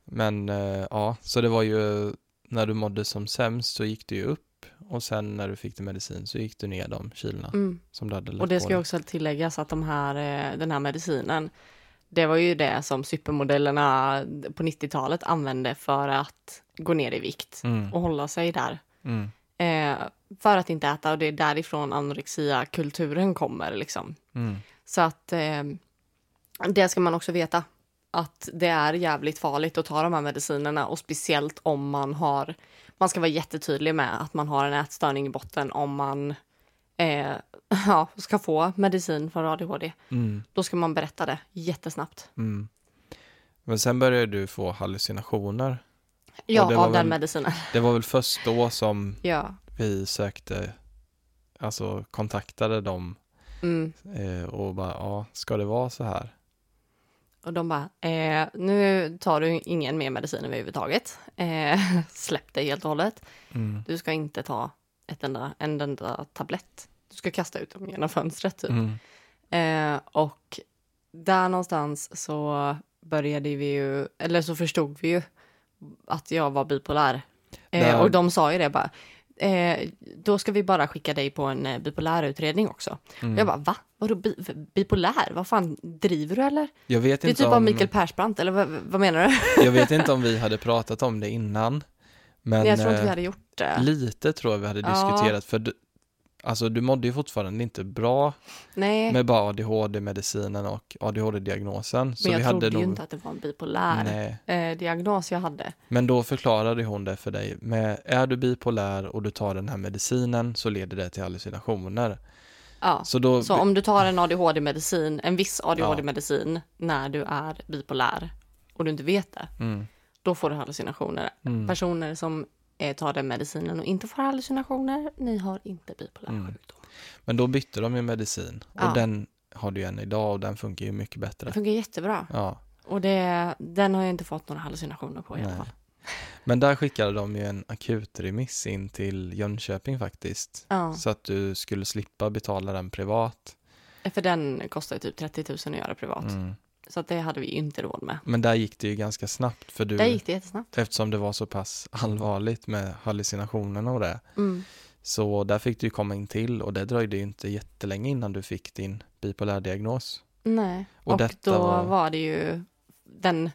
A: Men eh, ja, så det var ju när du mådde som sämst så gick du ju upp och sen när du fick din medicin så gick du ner de kilorna
B: mm.
A: som du hade lagt
B: och det
A: på
B: ska
A: dig.
B: ju också tilläggas att de här, eh, den här medicinen, det var ju det som supermodellerna på 90-talet använde för att gå ner i vikt
A: Mm,
B: och hålla sig där.
A: mm,
B: Eh, för att inte äta och det är därifrån anorexia-kulturen kommer liksom.
A: mm.
B: Så att eh, det ska man också veta. Att det är jävligt farligt att ta de här medicinerna och speciellt om man har... Man ska vara jättetydlig med att man har en ätstörning i botten om man eh, ja, ska få medicin för ADHD.
A: Mm,
B: Då ska man berätta det jättesnabbt.
A: mm. Men sen började du få hallucinationer. det
B: Ja,
A: var
B: av den
A: väl-
B: medicinen.
A: Det var väl först då som
B: ja.
A: vi sökte, alltså kontaktade dem
B: Mm.
A: eh, och bara, ja, ska det vara så här?
B: Och de bara, eh, nu tar du ingen mer medicin överhuvudtaget. Eh, släpp det helt och hållet.
A: Mm,
B: Du ska inte ta ett enda, en enda tablett. Du ska kasta ut dem genom fönstret typ.
A: mm,
B: Eh, och där någonstans så började vi ju, eller så förstod vi ju att jag var bipolär.
A: Där-
B: Eh, och de sa ju det bara, eh, då ska vi bara skicka dig på en eh, bipolär utredning också.
A: mm.
B: Jag bara, va? Vadå bi- bipolär? Vad fan, driver du eller?
A: jag vet
B: Det är
A: inte
B: typ av
A: om...
B: Mikael Persbrandt, eller vad, vad menar du?
A: Jag vet inte om vi hade pratat om det innan. Men
B: jag tror inte vi
A: eh,
B: hade gjort det.
A: lite tror jag vi hade
B: Ja.
A: diskuterat. För du, alltså, du mådde ju fortfarande inte bra
B: Nej, men,
A: med bara ADHD-medicinen och ADHD-diagnosen. Så
B: jag
A: vi hade
B: trodde ju
A: nog...
B: inte att det var en bipolär
A: Nej.
B: eh, diagnos jag hade.
A: Men då förklarade hon det för dig med är du bipolär och du tar den här medicinen så leder det till hallucinationer.
B: Ja.
A: Så då,
B: Så om du tar en ADHD-medicin, en viss ADHD-medicin när du är bipolär och du inte vet det,
A: mm,
B: då får du hallucinationer.
A: mm,
B: Personer som eh, tar den medicinen och inte får hallucinationer, ni har inte bipolär
A: Mm.
B: sjukdom.
A: men då bytte de ju medicin och
B: Ja.
A: den har du ju än idag och den funkar ju mycket
B: Det
A: bättre.
B: funkar jättebra.
A: Ja.
B: Och det, den har jag inte fått några hallucinationer på i alla
A: Nej.
B: fall.
A: Men där skickade de ju en akutremiss in till Jönköping faktiskt.
B: Ja,
A: Så att du skulle slippa betala den privat.
B: för den kostar ju typ 30 000 att göra privat.
A: Mm.
B: Så att det hade vi ju inte råd med.
A: Men där gick det ju ganska snabbt för
B: Där
A: du,
B: gick det jättesnabbt.
A: eftersom det var så pass allvarligt med hallucinationerna och det.
B: Mm.
A: Så där fick du ju komma in till och det dröjde ju inte jättelänge innan du fick din bipolärdiagnos.
B: Nej,
A: Och
B: och,
A: detta
B: då
A: var-
B: var... det ju den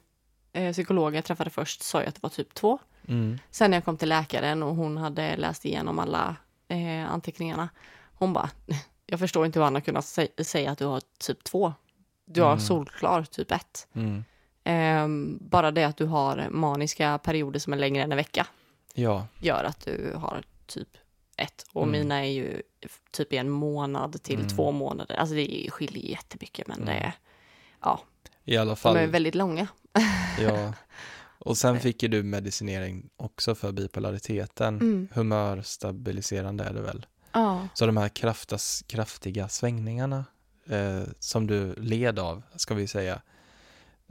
B: eh, psykologen jag träffade först sa ju att det var typ två.
A: Mm.
B: Sen när jag kom till läkaren och hon hade läst igenom alla eh, anteckningarna, hon bara, jag förstår inte hur han har kunnat sä- säga att du har typ två. Du har
A: Mm.
B: solklar typ ett.
A: Mm.
B: Ehm, bara det att du har maniska perioder som är längre än en vecka
A: Ja,
B: gör att du har typ ett. Och
A: Mm.
B: mina är ju f- typ i en månad till
A: Mm.
B: två månader. Alltså det skiljer jättemycket, men det är, ja,
A: i alla fall.
B: de är väldigt långa.
A: Ja. Och sen fick ju du medicinering också för bipolariteten.
B: Mm.
A: Humörstabiliserande är det väl?
B: Ja,
A: Så de här kraftas, kraftiga svängningarna eh, som du led av, ska vi säga.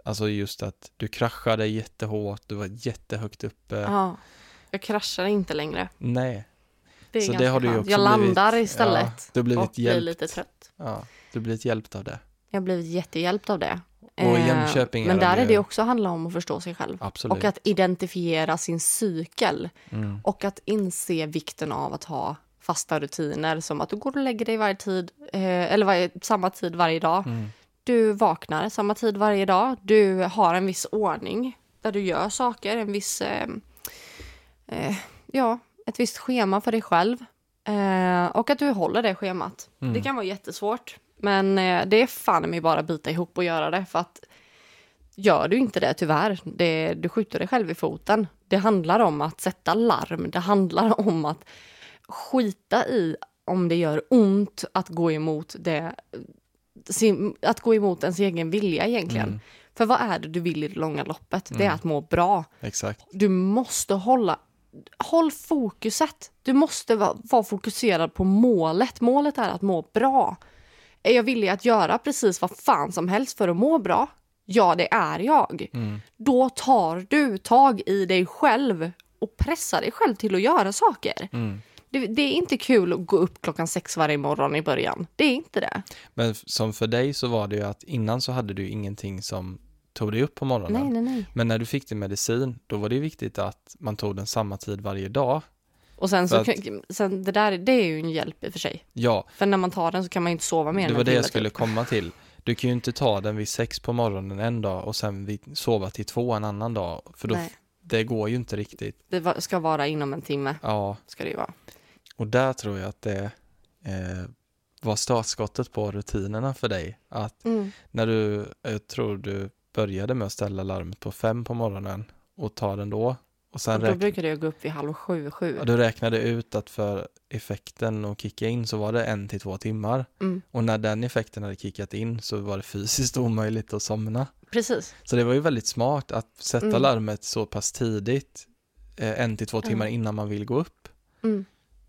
A: Alltså just att du kraschade jättehårt, du var jättehögt uppe.
B: ja. Jag kraschar inte längre.
A: Nej,
B: Det är
A: så det
B: ganska
A: har du ju
B: skönt.
A: också
B: Jag
A: blivit,
B: landar
A: ja,
B: istället
A: du har blivit
B: och blir
A: hjälpt.
B: lite trött.
A: ja, du blivit hjälpt av det.
B: Jag har blivit jättehjälpt av det.
A: Och i
B: Eh,
A: Jönköping är
B: Men
A: de
B: där
A: ju-
B: är det också handla om att förstå sig själv.
A: Absolut.
B: Och att identifiera sin cykel.
A: Mm.
B: Och att inse vikten av att ha fasta rutiner som att du går och lägger dig varje tid, eh, eller varje, samma tid varje dag.
A: Mm.
B: Du vaknar samma tid varje dag. Du har en viss ordning där du gör saker, en viss... Eh, eh, ja, ett visst schema för dig själv. Eh, och att du håller det schemat.
A: Mm.
B: Det kan vara jättesvårt. Men eh, det är fan mig bara bita ihop och göra det för att gör du inte det tyvärr, det, du skjuter dig själv i foten. Det handlar om att sätta larm, det handlar om att skita i om det gör ont att gå emot det, sin, att gå emot ens egen vilja egentligen.
A: Mm.
B: För vad är det du vill i det långa loppet? Det är att må bra.
A: Exakt.
B: Du måste hålla Håll fokuset. Du måste va- vara fokuserad på målet. Målet är att må bra. Är jag villig att göra precis vad fan som helst för att må bra? Ja, det är jag.
A: Mm.
B: Då tar du tag i dig själv och pressar dig själv till att göra saker.
A: Mm.
B: Det, det är inte kul att gå upp klockan sex varje morgon i början. Det är inte det.
A: Men f- som för dig så var det ju att innan så hade du ingenting som tog dig upp på morgonen.
B: Nej, nej, nej.
A: Men när du fick din medicin, då var det ju viktigt att man tog den samma tid varje dag.
B: Och sen så,
A: För
B: sen det där det är ju en hjälp i och för sig.
A: Ja,
B: För när man tar den så kan man ju inte sova mer
A: det
B: än
A: var det
B: en timme,
A: jag
B: typ.
A: skulle komma till. Du kan ju inte ta den vid sex på morgonen en dag och sen vid, sova till två en annan dag. För då,
B: Nej.
A: det går ju inte riktigt.
B: Det va- ska vara inom en timme.
A: Ja,
B: Ska det ju vara.
A: och där tror jag att det eh, var startskottet på rutinerna för dig. Att när du, jag tror du började med att ställa larmet på fem på morgonen och ta den då. Och
B: Och
A: sen
B: då
A: räkna,
B: brukade jag gå upp vid halv sju, sju.
A: du räknade ut att för effekten att kicka in så var det en till två timmar.
B: Mm.
A: Och när den effekten hade kickat in så var det fysiskt omöjligt att somna.
B: Precis.
A: Så det var ju väldigt smart att sätta
B: Mm.
A: larmet så pass tidigt, eh, en till två timmar innan man vill gå upp.
B: Mm.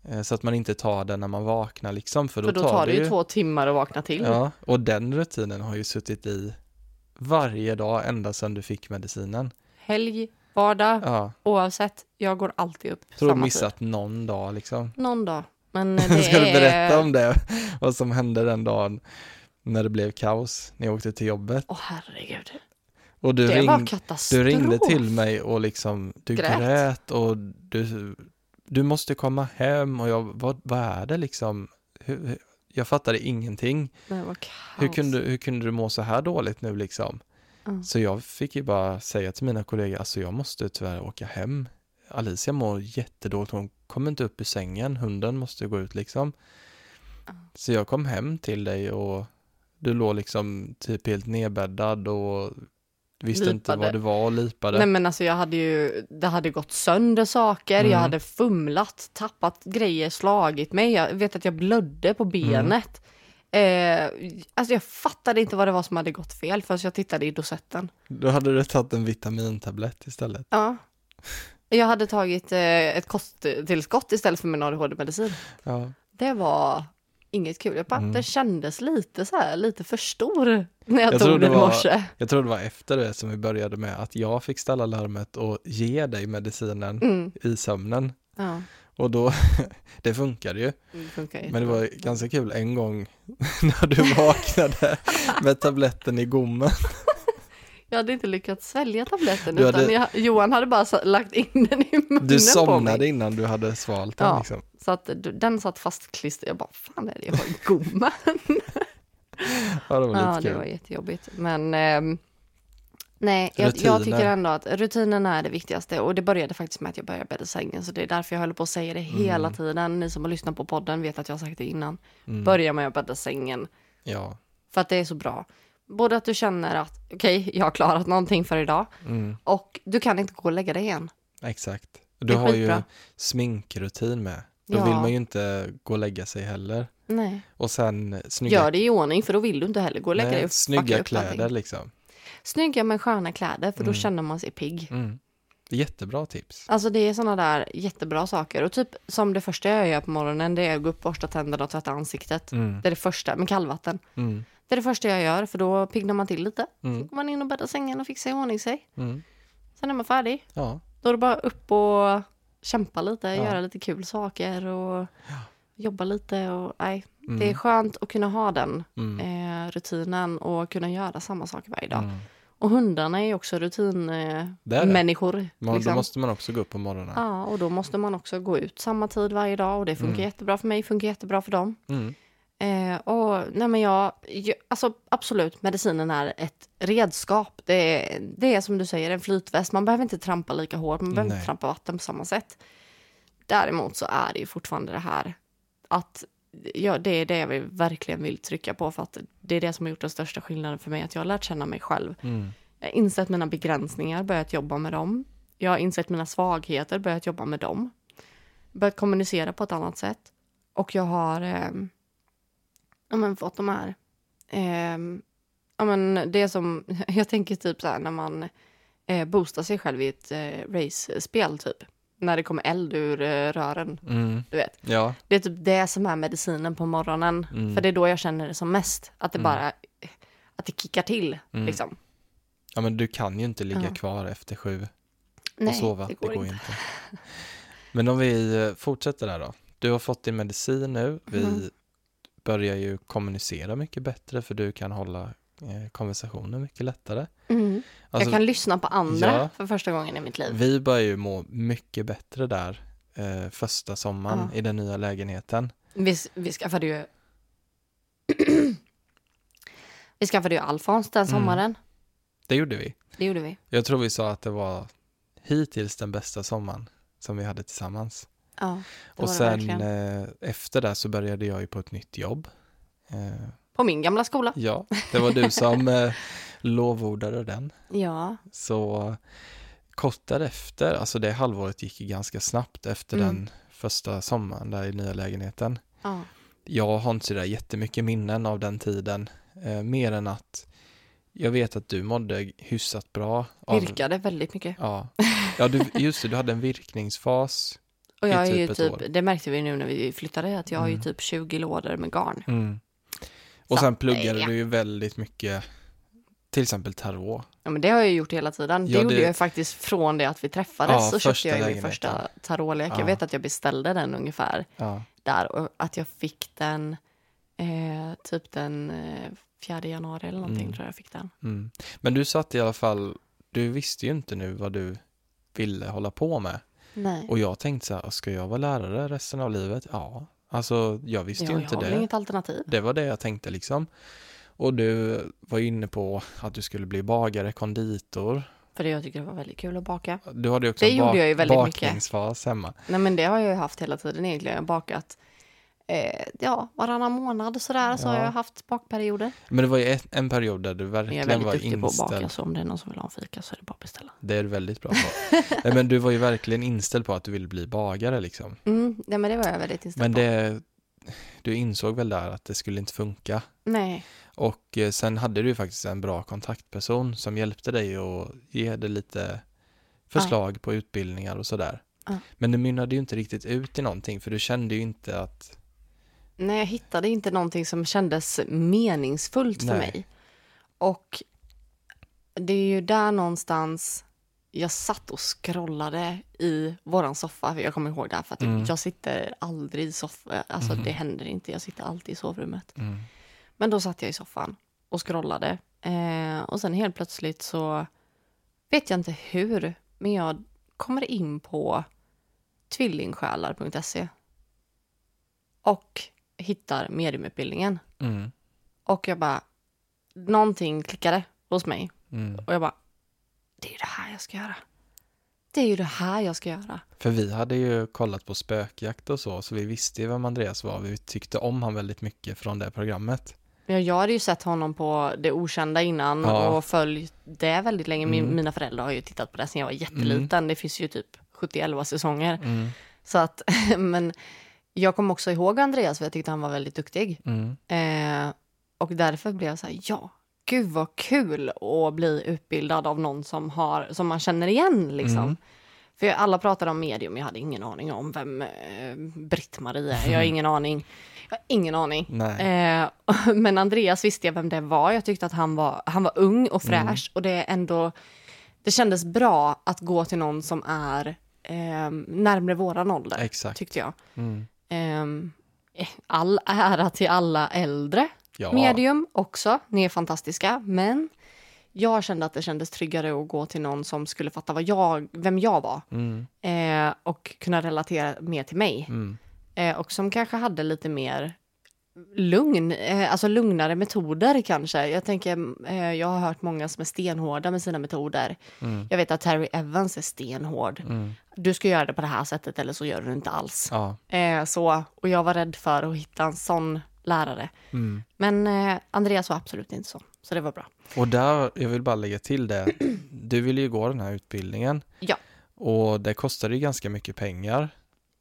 A: Eh, så att man inte tar den när man vaknar liksom, för då,
B: För då tar det ju
A: ju
B: två timmar att vakna till.
A: Ja, och den rutinen har ju suttit i varje dag ända sedan du fick medicinen.
B: Helg, vardag,
A: Ja,
B: oavsett. Jag går alltid upp
A: tror du
B: samma
A: missat någon dag liksom.
B: tid. Någon dag. Men det
A: Ska du
B: är...
A: berätta om det? Vad som hände den dagen när det blev kaos, när jag åkte till jobbet.
B: Åh herregud.
A: Och du,
B: det var
A: ring,
B: katastrof.
A: du ringde till mig och liksom, du
B: Grät.
A: grät, och du, du måste komma hem och jag, vad, vad är det liksom? Hur, hur- jag fattade ingenting.
B: Det var kaos.
A: hur kunde, hur kunde du må så här dåligt nu liksom?
B: Ja.
A: Så jag fick ju bara säga till mina kollegor, alltså jag måste tyvärr åka hem. Alicia mår jättedåligt, hon kommer inte upp ur sängen, hunden måste gå ut liksom. Så jag kom hem till dig och du låg liksom typ helt nedbäddad och visste inte
B: Lipade.
A: vad det var och lipade.
B: Nej men alltså jag hade ju, det hade gått sönder saker, jag
A: Mm.
B: hade fumlat, tappat grejer, slagit mig, jag vet att jag blödde
A: Mm.
B: på benet. Eh, alltså jag fattade inte vad det var som hade gått fel förrän jag tittade i dosetten.
A: Då hade du tagit en vitamintablett istället.
B: Ja. Jag hade tagit eh, ett kosttillskott istället för min ADHD-medicin.
A: Ja.
B: Det var inget kul. Jag bara,
A: Mm.
B: Den kändes lite så här, lite för stor när jag,
A: Jag tror
B: tog
A: det
B: den i
A: var-
B: morse.
A: Jag tror det var efter det som vi började med att jag fick ställa larmet och ge dig medicinen
B: Mm.
A: i sömnen.
B: Ja,
A: Och då, det funkade ju.
B: det funkar ju.
A: Men det var ganska kul en gång när du vaknade med tabletten i gommen.
B: Jag hade inte lyckats svälja tabletten
A: Du
B: utan
A: hade-
B: jag, Johan hade bara sa- lagt in den i munnen
A: Du
B: på
A: somnade
B: mig.
A: innan du hade svalt den
B: Ja.
A: liksom.
B: Så att du- den satt fastklistrad. Jag bara, fan är det jag har i gommen?
A: Ja, det var
B: ja,
A: lite
B: det
A: kul.
B: var jättejobbigt. Men ehm, nej, jag, jag
A: Rutiner.
B: tycker ändå att rutinerna är det viktigaste. Och det började faktiskt med att jag började bädda sängen. Så det är därför jag håller på att säga det hela
A: Mm.
B: tiden. Ni som har lyssnat på podden vet att jag har sagt det innan. Börja med att bädda sängen.
A: Ja,
B: För att det är så bra. Både att du känner att okej, jag har klarat någonting för idag. Och du kan inte gå och lägga dig igen.
A: mm, exakt.
B: Det
A: Du
B: är
A: har ju
B: skitbra.
A: sminkrutin med. Då
B: Ja.
A: vill man ju inte gå och lägga sig heller.
B: Nej.
A: Och sen snygga,
B: Gör det i ordning för då vill du inte heller gå och lägga dig
A: nej,
B: och fucka
A: snygga
B: upp allting.
A: kläder liksom.
B: Snygga men sköna kläder för då känner man sig pigg.
A: Mm. Jättebra tips.
B: Alltså det är sådana där jättebra saker och typ som det första jag gör på morgonen det är att gå upp, borsta tänderna och tvätta ansiktet. Det är det första, med kallvatten.
A: Mm.
B: Det är det första jag gör för då piggnar man till lite. Sen går man in och bäddar sängen och fixar i ordning sig.
A: Mm.
B: Sen är man färdig.
A: Ja,
B: Då är det bara upp och kämpa lite, göra lite kul saker och jobba lite och nej. Det
A: Mm.
B: är skönt att kunna ha den eh, rutinen och kunna göra samma saker varje dag. Och hundarna är ju också
A: Det Mm. är det.
B: rutinmänniskor. Eh,
A: men
B: liksom.
A: då måste man också gå upp på morgonen.
B: Ja, och då måste man också gå ut samma tid varje dag och det funkar jättebra för mig, funkar jättebra för dem.
A: Mm.
B: Eh, och nej men jag, jag, alltså absolut, medicinen är ett redskap. Det är, det är som du säger, en flytväst. Man behöver inte trampa lika hårt, man behöver inte
A: Nej.
B: trampa vatten på samma sätt. Däremot så är det ju fortfarande det här att ja, det är det jag vill, verkligen vill trycka på för att det är det som har gjort den största skillnaden för mig, att jag har lärt känna mig själv.
A: Mm.
B: Jag har insett mina begränsningar, börjat jobba med dem. Jag har insett mina svagheter, börjat jobba med dem. Börjat kommunicera på ett annat sätt. Och jag har eh, ja, men fått de här... Eh, ja, men det som... Jag tänker typ så här när man eh, boostar sig själv i ett eh, race-spel, typ. När det kommer eld ur eh, rören,
A: Mm.
B: du vet.
A: Ja.
B: Det är typ det som är medicinen på morgonen.
A: Mm.
B: För det är då jag känner det som mest. Att det
A: Mm.
B: bara... Att det kickar till,
A: Mm.
B: liksom.
A: ja, men du kan ju inte ligga
B: Ja.
A: kvar efter sju
B: Nej,
A: och sova.
B: det går, inte.
A: Men om vi eh, fortsätter där då. Du har fått din medicin nu. Vi
B: Mhm.
A: börjar ju kommunicera mycket bättre för du kan hålla eh, konversationer mycket lättare.
B: Mm.
A: Alltså,
B: jag kan lyssna på andra
A: Ja.
B: för första gången i mitt liv.
A: Vi börjar ju må mycket bättre där eh, första sommaren
B: Ja.
A: i den nya lägenheten.
B: Vi, vi skaffade ju... vi skaffade ju Alfons den
A: Mm.
B: sommaren.
A: Det gjorde vi.
B: Det gjorde vi.
A: Jag tror vi sa att det var hittills den bästa sommaren som vi hade tillsammans.
B: Ja, det
A: Och
B: var det
A: sen
B: verkligen.
A: eh, efter det så började jag ju på ett nytt jobb. Eh,
B: På min gamla skola.
A: ja, det var du som eh, lovordade den.
B: Ja.
A: Så kort därefter, alltså det halvåret gick ju ganska snabbt efter
B: Mm.
A: den första sommaren där i nya lägenheten.
B: ja.
A: Jag har inte sådär jättemycket minnen av den tiden, eh, mer än att jag vet att du mådde hyfsat bra. Av,
B: Virkade väldigt mycket.
A: Ja, ja du, just det, du hade en virkningsfas.
B: Och jag
A: i
B: är ju
A: typ ett år.
B: typ, det märkte vi nu när vi flyttade, att jag har ju
A: Mm.
B: typ 20 lådor med garn.
A: Och
B: Så, eh,
A: sen pluggade
B: ja.
A: du ju väldigt mycket, till exempel tarot.
B: Ja, men det har jag ju gjort hela tiden. Det
A: Ja,
B: gjorde
A: det-
B: jag ju faktiskt från det att vi träffades
A: Ja,
B: så
A: första
B: köpte jag ju min
A: lägenheten.
B: första tarotlek.
A: Ja.
B: Jag vet att jag beställde den ungefär
A: Ja.
B: där och att jag fick den eh, typ den eh, 4 januari eller någonting
A: Mm.
B: tror jag jag fick den.
A: Mm. Men du satt i alla fall, du visste ju inte nu vad du ville hålla på med.
B: Nej.
A: Och jag tänkte så här, ska jag vara lärare resten av livet? Ja, alltså jag visste
B: ja,
A: ju inte
B: jag har
A: det.
B: väl inget alternativ.
A: Det var det jag tänkte liksom. Och du var ju inne på att du skulle bli bagare, konditor.
B: För det jag tycker det var väldigt kul att baka.
A: Du hade ju också
B: Det
A: en
B: gjorde
A: bak-
B: jag ju väldigt mycket.
A: bakningsfas hemma.
B: Nej men det har jag ju haft hela tiden egentligen. Jag har bakat eh, ja, varannan månad sådär så
A: Ja.
B: har jag haft bakperioder.
A: Men det var ju ett, en period där du
B: Men jag är
A: verkligen
B: väldigt
A: var
B: duktig på att baka
A: inställd.
B: så om det är någon som vill ha en fika så är det bara att beställa.
A: Det är du väldigt bra på. Nej, Men du var ju verkligen inställd på att du ville bli bagare liksom.
B: Mm, nej men det var jag väldigt
A: Men
B: inställd på.
A: det, du insåg väl där att det skulle inte funka.
B: Nej.
A: Och eh, sen hade du ju faktiskt en bra kontaktperson som hjälpte dig och ge dig lite förslag på utbildningar och sådär.
B: Ja.
A: Men det mynnade ju inte riktigt ut i någonting för du kände ju inte att,
B: Nej, jag hittade inte någonting som kändes meningsfullt för
A: Nej.
B: mig. Och det är ju där någonstans jag satt och scrollade i våran soffa. Jag kommer ihåg det här för att
A: Mm. Mhm.
B: jag sitter aldrig i soffan. Alltså det händer inte, jag sitter alltid i sovrummet.
A: Mm.
B: Men då satt jag i soffan och scrollade. Eh, och sen helt plötsligt så vet jag inte hur, men jag kommer in på tvillingsjälar.se och hittar mediumutbildningen.
A: mm,
B: Och jag bara, någonting klickade hos mig.
A: mm.
B: Och jag bara, det är ju det här jag ska göra. Det är ju det här jag ska göra.
A: för vi hade ju kollat på spökjakt och så, så vi visste ju vem Andreas var. Vi tyckte om han väldigt mycket från det programmet.
B: Ja, jag hade ju sett honom på Det Okända innan
A: Ja.
B: och följt det väldigt länge. Min,
A: Mm.
B: Mina föräldrar har ju tittat på det sen jag var jätteliten. Det finns ju typ 71 säsonger.
A: Mm,
B: Så att, men jag kom också ihåg Andreas för jag tyckte han var väldigt duktig.
A: mm,
B: Eh, och därför blev jag så här, ja, gud vad kul att bli utbildad av någon som, har, som man känner igen liksom.
A: Mm.
B: För jag- alla pratade om medium, jag hade ingen aning om vem eh, Britt-Marie är. Jag har ingen aning. Jag har ingen aning.
A: nej.
B: Eh, men Andreas visste jag vem det var. Jag tyckte att han var, han var ung och
A: Mm.
B: fräsch. Och det är ändå... Det kändes bra att gå till någon som är eh, närmare våran ålder,
A: Exakt.
B: tyckte jag.
A: Mm.
B: Ehm, Eh, all ära till alla äldre
A: Ja,
B: medium också. Ni är fantastiska. Men jag kände att det kändes tryggare att gå till någon som skulle fatta vad jag, vem jag var.
A: Mm,
B: Eh, och kunna relatera mer till mig.
A: mm,
B: Eh, och som kanske hade lite mer lugn, eh, alltså lugnare metoder kanske. Jag tänker, eh, jag har hört många som är stenhårda med sina metoder.
A: Mm.
B: Jag vet att Terry Evans är stenhård.
A: mm,
B: du ska göra det på det här sättet eller så gör du det inte alls.
A: Ja.
B: Eh, så, och jag var rädd för att hitta en sån lärare.
A: Mm.
B: Men eh, Andreas var absolut inte så, så det var bra.
A: Och där, jag vill bara lägga till det, du ville ju gå den här utbildningen.
B: Ja.
A: Och det kostade ju ganska mycket pengar.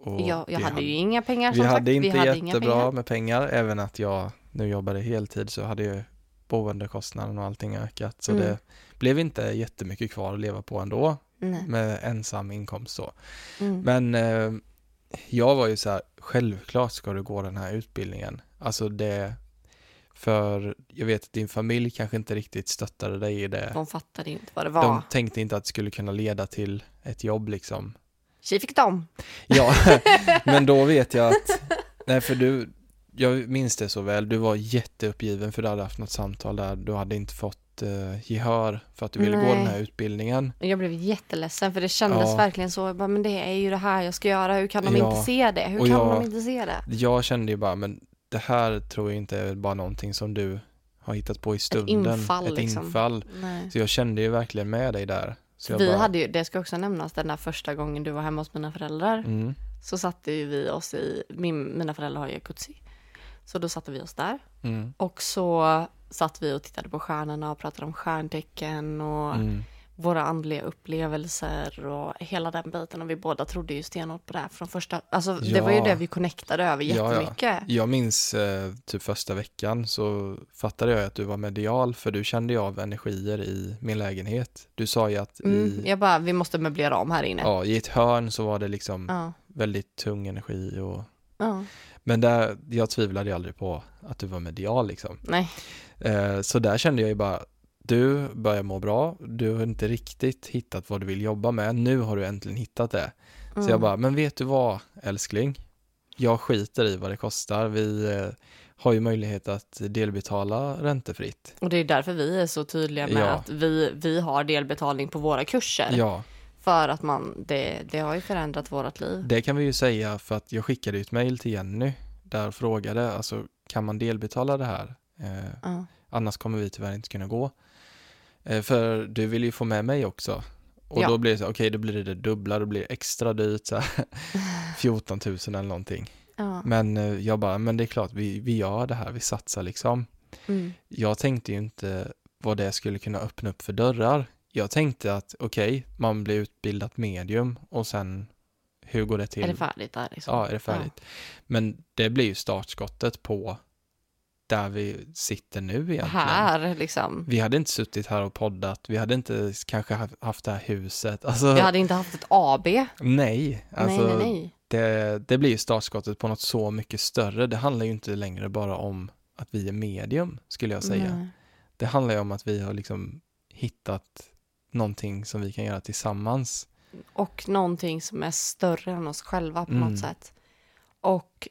A: Och
B: jag jag
A: vi
B: hade ju inga pengar
A: Vi
B: som sagt.
A: hade inte
B: vi hade inga
A: jättebra
B: pengar.
A: med pengar, även att jag nu jobbade heltid så hade ju boendekostnaden och allting ökat. Så
B: Mm.
A: det blev inte jättemycket kvar att leva på ändå
B: Nej.
A: med ensam inkomst så.
B: Mm.
A: Men eh, jag var ju så här, självklart ska du gå den här utbildningen. Alltså det, för jag vet att din familj kanske inte riktigt stöttade dig i det.
B: De fattade ju inte vad det var.
A: De tänkte inte att det skulle kunna leda till ett jobb liksom.
B: Tji fick dem.
A: Ja, men då vet jag att, nej för du, jag minns det så väl, du var jätteuppgiven för du hade haft något samtal där, du hade inte fått eh, gehör för att du ville gå
B: Nej.
A: den här utbildningen.
B: Jag blev jätteledsen för det kändes
A: Ja.
B: verkligen så. Jag bara, men det är ju det här jag ska göra. Hur kan de
A: Ja.
B: inte se det? Hur
A: Och
B: kan
A: jag-
B: de inte se det?
A: Jag kände ju bara, men det här tror jag inte är bara någonting som du har hittat på i stunden.
B: infall,
A: Ett
B: liksom.
A: infall.
B: Nej.
A: Så jag kände ju verkligen med dig där. Så jag
B: Vi
A: bara,
B: hade ju, det ska också nämnas, den där första gången du var hemma hos mina föräldrar
A: mm,
B: så satte ju vi oss i, min, mina föräldrar har jacuzzi. Så då satte vi oss där
A: mm,
B: och så satt vi och tittade på stjärnorna och pratade om stjärntecken och
A: mm,
B: våra andliga upplevelser och hela den biten. Och vi båda trodde ju stenhårt på det här från första, alltså det
A: Ja.
B: var ju det vi connectade över
A: Ja, ja.
B: jättemycket.
A: Jag minns eh, typ första veckan så fattade jag att du var medial för du kände ju av energier i min lägenhet. Du sa ju att
B: Mm,
A: i,
B: jag bara, vi måste möblera om här inne.
A: ja, i ett hörn så var det liksom
B: Ja.
A: väldigt tung energi och
B: ja.
A: men där, jag tvivlade ju aldrig på att du var medial liksom.
B: Nej,
A: Eh, så där kände jag ju bara, du börjar må bra, du har inte riktigt hittat vad du vill jobba med, nu har du äntligen hittat det.
B: Mm.
A: Så jag bara, men vet du vad älskling? Jag skiter i vad det kostar, vi eh, har ju möjlighet att delbetala räntefritt.
B: och det är därför vi är så tydliga med
A: Ja.
B: att vi, vi har delbetalning på våra kurser.
A: Ja,
B: För att man, det, det har ju förändrat vårt liv.
A: det kan vi ju säga för att jag skickade ju ett mejl till Jenny där jag frågade, alltså kan man delbetala det här? Eh,
B: Ja.
A: annars kommer vi tyvärr inte kunna gå. Eh, För du vill ju få med mig också. Och
B: Ja.
A: då blir det så, okej, då blir det det dubbla, då blir det extra dyrt, så här, 14 000 eller någonting.
B: Ja. Mm.
A: Men eh, jag bara, men det är klart, vi, vi gör det här, vi satsar liksom.
B: Mm.
A: Jag tänkte ju inte vad det skulle kunna öppna upp för dörrar. Jag tänkte att, okej, man blir utbildat medium och sen, hur går det till?
B: Är det färdigt där liksom?
A: Ja, är det färdigt? Men det blir ju startskottet på där vi sitter nu egentligen.
B: Här liksom.
A: Vi hade inte suttit här och poddat, vi hade inte kanske ha- haft det här huset. Alltså,
B: Jag hade inte haft ett AB.
A: Nej, alltså,
B: nej, nej, nej.
A: Det, det blir ju startskottet på något så mycket större. Det handlar ju inte längre bara om att vi är medium, skulle jag säga.
B: Nej.
A: Det handlar ju om att vi har liksom hittat någonting som vi kan göra tillsammans.
B: Och någonting som är större än oss själva på
A: Mm.
B: något sätt. Och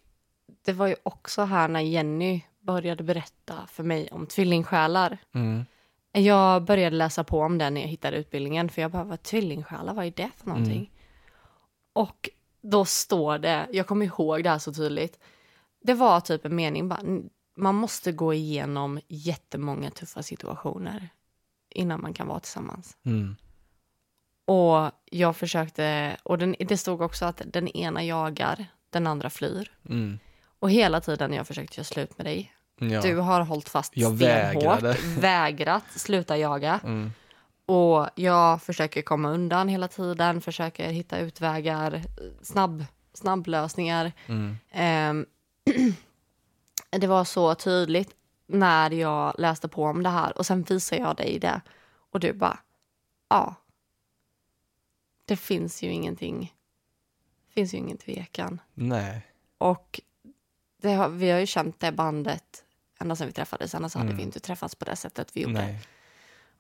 B: det var ju också här när Jenny började berätta för mig om tvillingsjälar.
A: Mm,
B: Jag började läsa på om det när jag hittade utbildningen för jag bara, vad tvillingsjälar, vad är det för någonting? Och då står det, jag kommer ihåg det här så tydligt, det var typ en mening bara, "N- man måste gå igenom jättemånga tuffa situationer innan man kan vara tillsammans.
A: mm,
B: Och jag försökte, och den, det stod också att den ena jagar, den andra flyr.
A: mm.
B: Och hela tiden jag försökte göra slut med dig,
A: Ja.
B: du har hållit fast
A: Jag
B: stenhårt,
A: vägrade.
B: vägrat sluta jaga.
A: Mm,
B: Och jag försöker komma undan hela tiden, försöker hitta utvägar, snabb, snabblösningar.
A: mm,
B: Ehm, det var så tydligt när jag läste på om det här och sen visar jag dig det och du bara, ja. Det finns ju ingenting, det finns ju ingen tvekan.
A: nej,
B: Och det har, vi har ju känt det bandet ända sedan vi träffades, annars hade
A: Mm.
B: vi inte träffats på det sättet vi gjorde.
A: nej.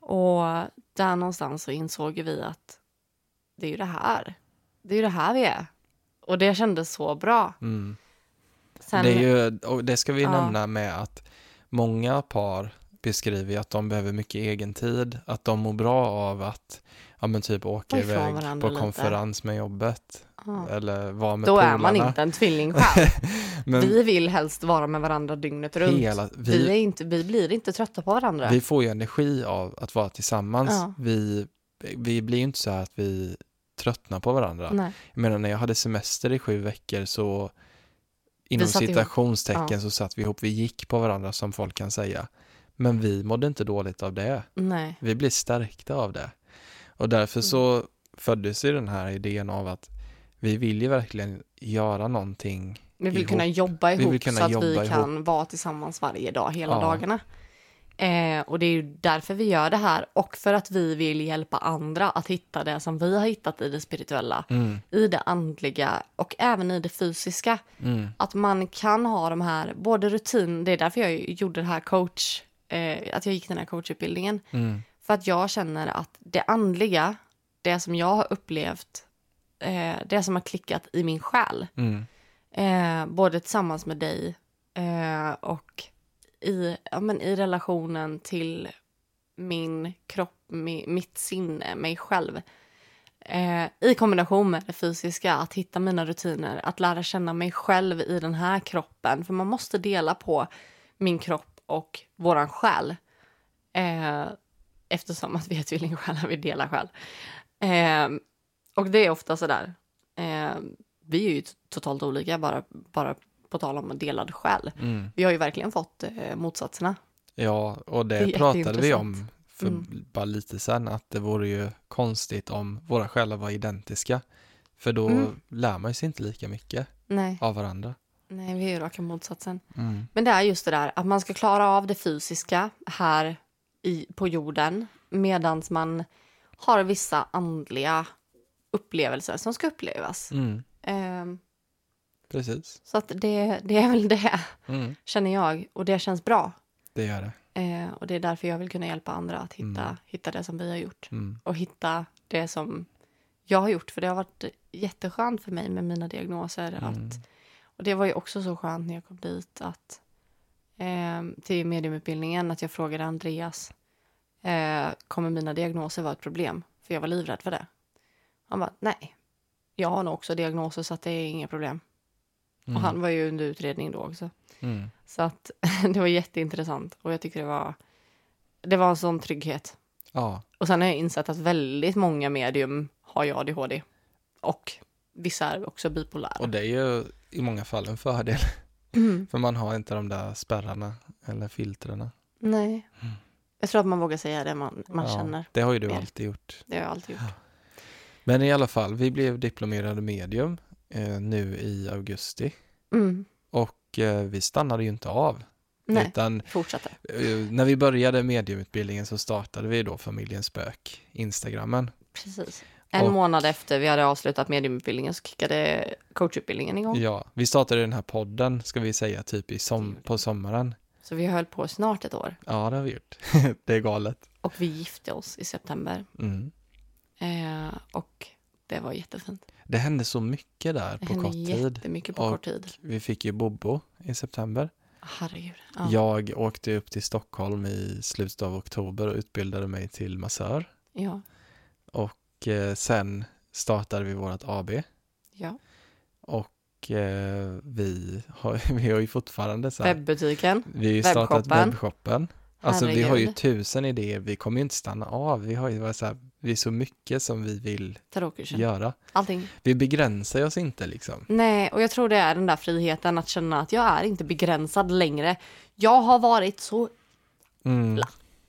B: Och där någonstans så insåg ju vi att det är ju det här. Det är ju det här vi är. Och det kändes så bra.
A: Mm.
B: Sen,
A: Det, är ju, och det ska vi
B: Ja.
A: nämna med att många par beskriver ju att de behöver mycket egen tid, att de mår bra av att ja, men typ åka
B: Och ifrån
A: iväg
B: varandra
A: på
B: lite.
A: konferens med jobbet
B: ja,
A: eller vara med
B: då
A: polarna.
B: är man inte en tvilling själv.
A: Men
B: vi vill helst vara med varandra dygnet runt.
A: hela,
B: vi, är
A: vi,
B: inte, vi blir inte trötta på varandra.
A: vi får ju energi av att vara tillsammans.
B: Ja.
A: Vi, vi blir ju inte så här att vi tröttna på varandra.
B: Nej.
A: Jag menar när jag hade semester i sju veckor så inom
B: satt ihop.
A: citationstecken
B: Ja.
A: så satt vi ihop, vi gick på varandra som folk kan säga. Men vi mådde inte dåligt av det.
B: Nej.
A: Vi blir stärkta av det. Och därför
B: Mm.
A: så föddes ju den här idén av att vi vill ju verkligen göra någonting.
B: Vi vill
A: ihop.
B: kunna jobba
A: Vi vill
B: ihop
A: kunna
B: så att vi
A: jobba ihop.
B: kan vara tillsammans varje dag, hela
A: Ja.
B: dagarna. Eh, och det är ju därför vi gör det här och för att vi vill hjälpa andra att hitta det som vi har hittat i det spirituella,
A: Mm,
B: i det andliga och även i det fysiska.
A: mm,
B: Att man kan ha de här, både rutin, det är därför jag gjorde det här coach, eh, att jag gick den här coachutbildningen.
A: mm,
B: För att jag känner att det andliga, det som jag har upplevt, eh, det som har klickat i min själ,
A: mm,
B: eh, både tillsammans med dig eh, och i, ja, men i relationen till min kropp, mi, mitt sinne, mig själv. Eh, I kombination med det fysiska, att hitta mina rutiner, att lära känna mig själv i den här kroppen. För man måste dela på min kropp och våran själ. Eh, eftersom att vi är tvillingsjälar, vi delar själ. Eh, och det är ofta sådär. Eh, vi är ju t- totalt olika, bara, bara på tal om delad själ.
A: mm.
B: Vi har ju verkligen fått eh, motsatserna.
A: Ja, och det,
B: Det är
A: pratade vi om
B: jätteintressant.
A: för
B: Mm.
A: bara lite sedan, att det vore ju konstigt om våra själar var identiska. För då
B: Mm.
A: lär man ju sig inte lika mycket
B: Nej,
A: av varandra.
B: nej vi är ju raka motsatsen.
A: Mm,
B: Men det är just det där att man ska klara av det fysiska här i, på jorden medan man har vissa andliga upplevelser som ska upplevas.
A: mm,
B: Eh,
A: precis.
B: så att det, det är väl det,
A: Mm,
B: känner jag. Och det känns bra.
A: det gör det.
B: Eh, och det är därför jag vill kunna hjälpa andra att hitta,
A: Mm.
B: hitta det som vi har gjort.
A: Mm,
B: och hitta det som jag har gjort. För det har varit jätteskönt för mig med mina diagnoser.
A: Mm.
B: Att, och det var ju också så skönt när jag kom dit att eh, till mediumutbildningen att jag frågade Andreas eh, kommer mina diagnoser vara ett problem? För jag var livrädd för det. Han bara, nej, jag har nog också diagnoser så att det är inga problem.
A: mm,
B: Och han var ju under utredning då också.
A: mm.
B: Så att det var jätteintressant och jag tycker det var, det var en sån trygghet.
A: Ja,
B: Och sen har jag insett att väldigt många medium har ju ADHD. Och vissa är också bipolära.
A: och det är ju i många fall en fördel.
B: Mm.
A: För man har inte de där spärrarna eller filtrerna.
B: Nej. Jag tror att man vågar säga det man, man
A: Mm. Ja,
B: känner.
A: Det har ju du
B: mer.
A: alltid gjort.
B: Det har jag alltid gjort.
A: Men i alla fall, vi blev diplomerade medium eh, nu i augusti.
B: Mm.
A: Och eh, vi stannade ju inte av.
B: Nej,
A: Utan
B: fortsätter.
A: eh, när vi började mediumutbildningen så startade vi då Familjens Spök, Instagrammen.
B: Precis. En
A: Och-
B: månad efter vi hade avslutat mediumutbildningen så kickade coachutbildningen igång.
A: Ja, vi startade den här podden, ska vi säga, typ i som, på sommaren.
B: Så vi höll på snart ett år.
A: Ja, det har vi gjort. det är galet.
B: Och vi gifte oss i september.
A: Mm.
B: Eh, och det var jättefint.
A: Det hände så mycket där på
B: Det hände
A: kort tid.
B: jättemycket på
A: Och-
B: kort tid.
A: Vi fick ju Bobo i september.
B: Herregud. Ja.
A: Jag åkte upp till Stockholm i slutet av oktober och utbildade mig till massör.
B: Ja.
A: Och eh, sen startade vi vårt AB.
B: ja.
A: Och eh, vi har, vi har ju fortfarande så här,
B: Webbutiken.
A: vi har ju startat
B: webbshoppen.
A: webbshoppen. Alltså vi har ju
B: Herregud.
A: tusen idéer, vi kommer ju inte stanna av. Vi har ju bara så här, det är så mycket som vi vill
B: Tarotkursen.
A: göra.
B: Allting.
A: Vi begränsar oss inte liksom.
B: Nej, och jag tror det är den där friheten att känna att jag är inte begränsad längre. Jag har varit så
A: Mm,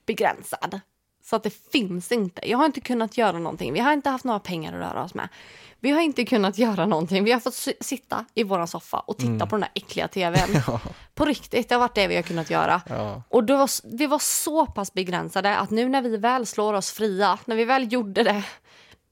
B: begränsad så att det finns inte. Jag har inte kunnat göra någonting. Vi har inte haft några pengar att röra oss med. Vi har inte kunnat göra någonting. Vi har fått si- sitta i våran soffa och titta på den där äckliga tvn.
A: ja,
B: På riktigt, det har varit det vi har kunnat göra.
A: ja,
B: Och det var, s- vi var så pass begränsade att nu när vi väl slår oss fria, när vi väl gjorde det,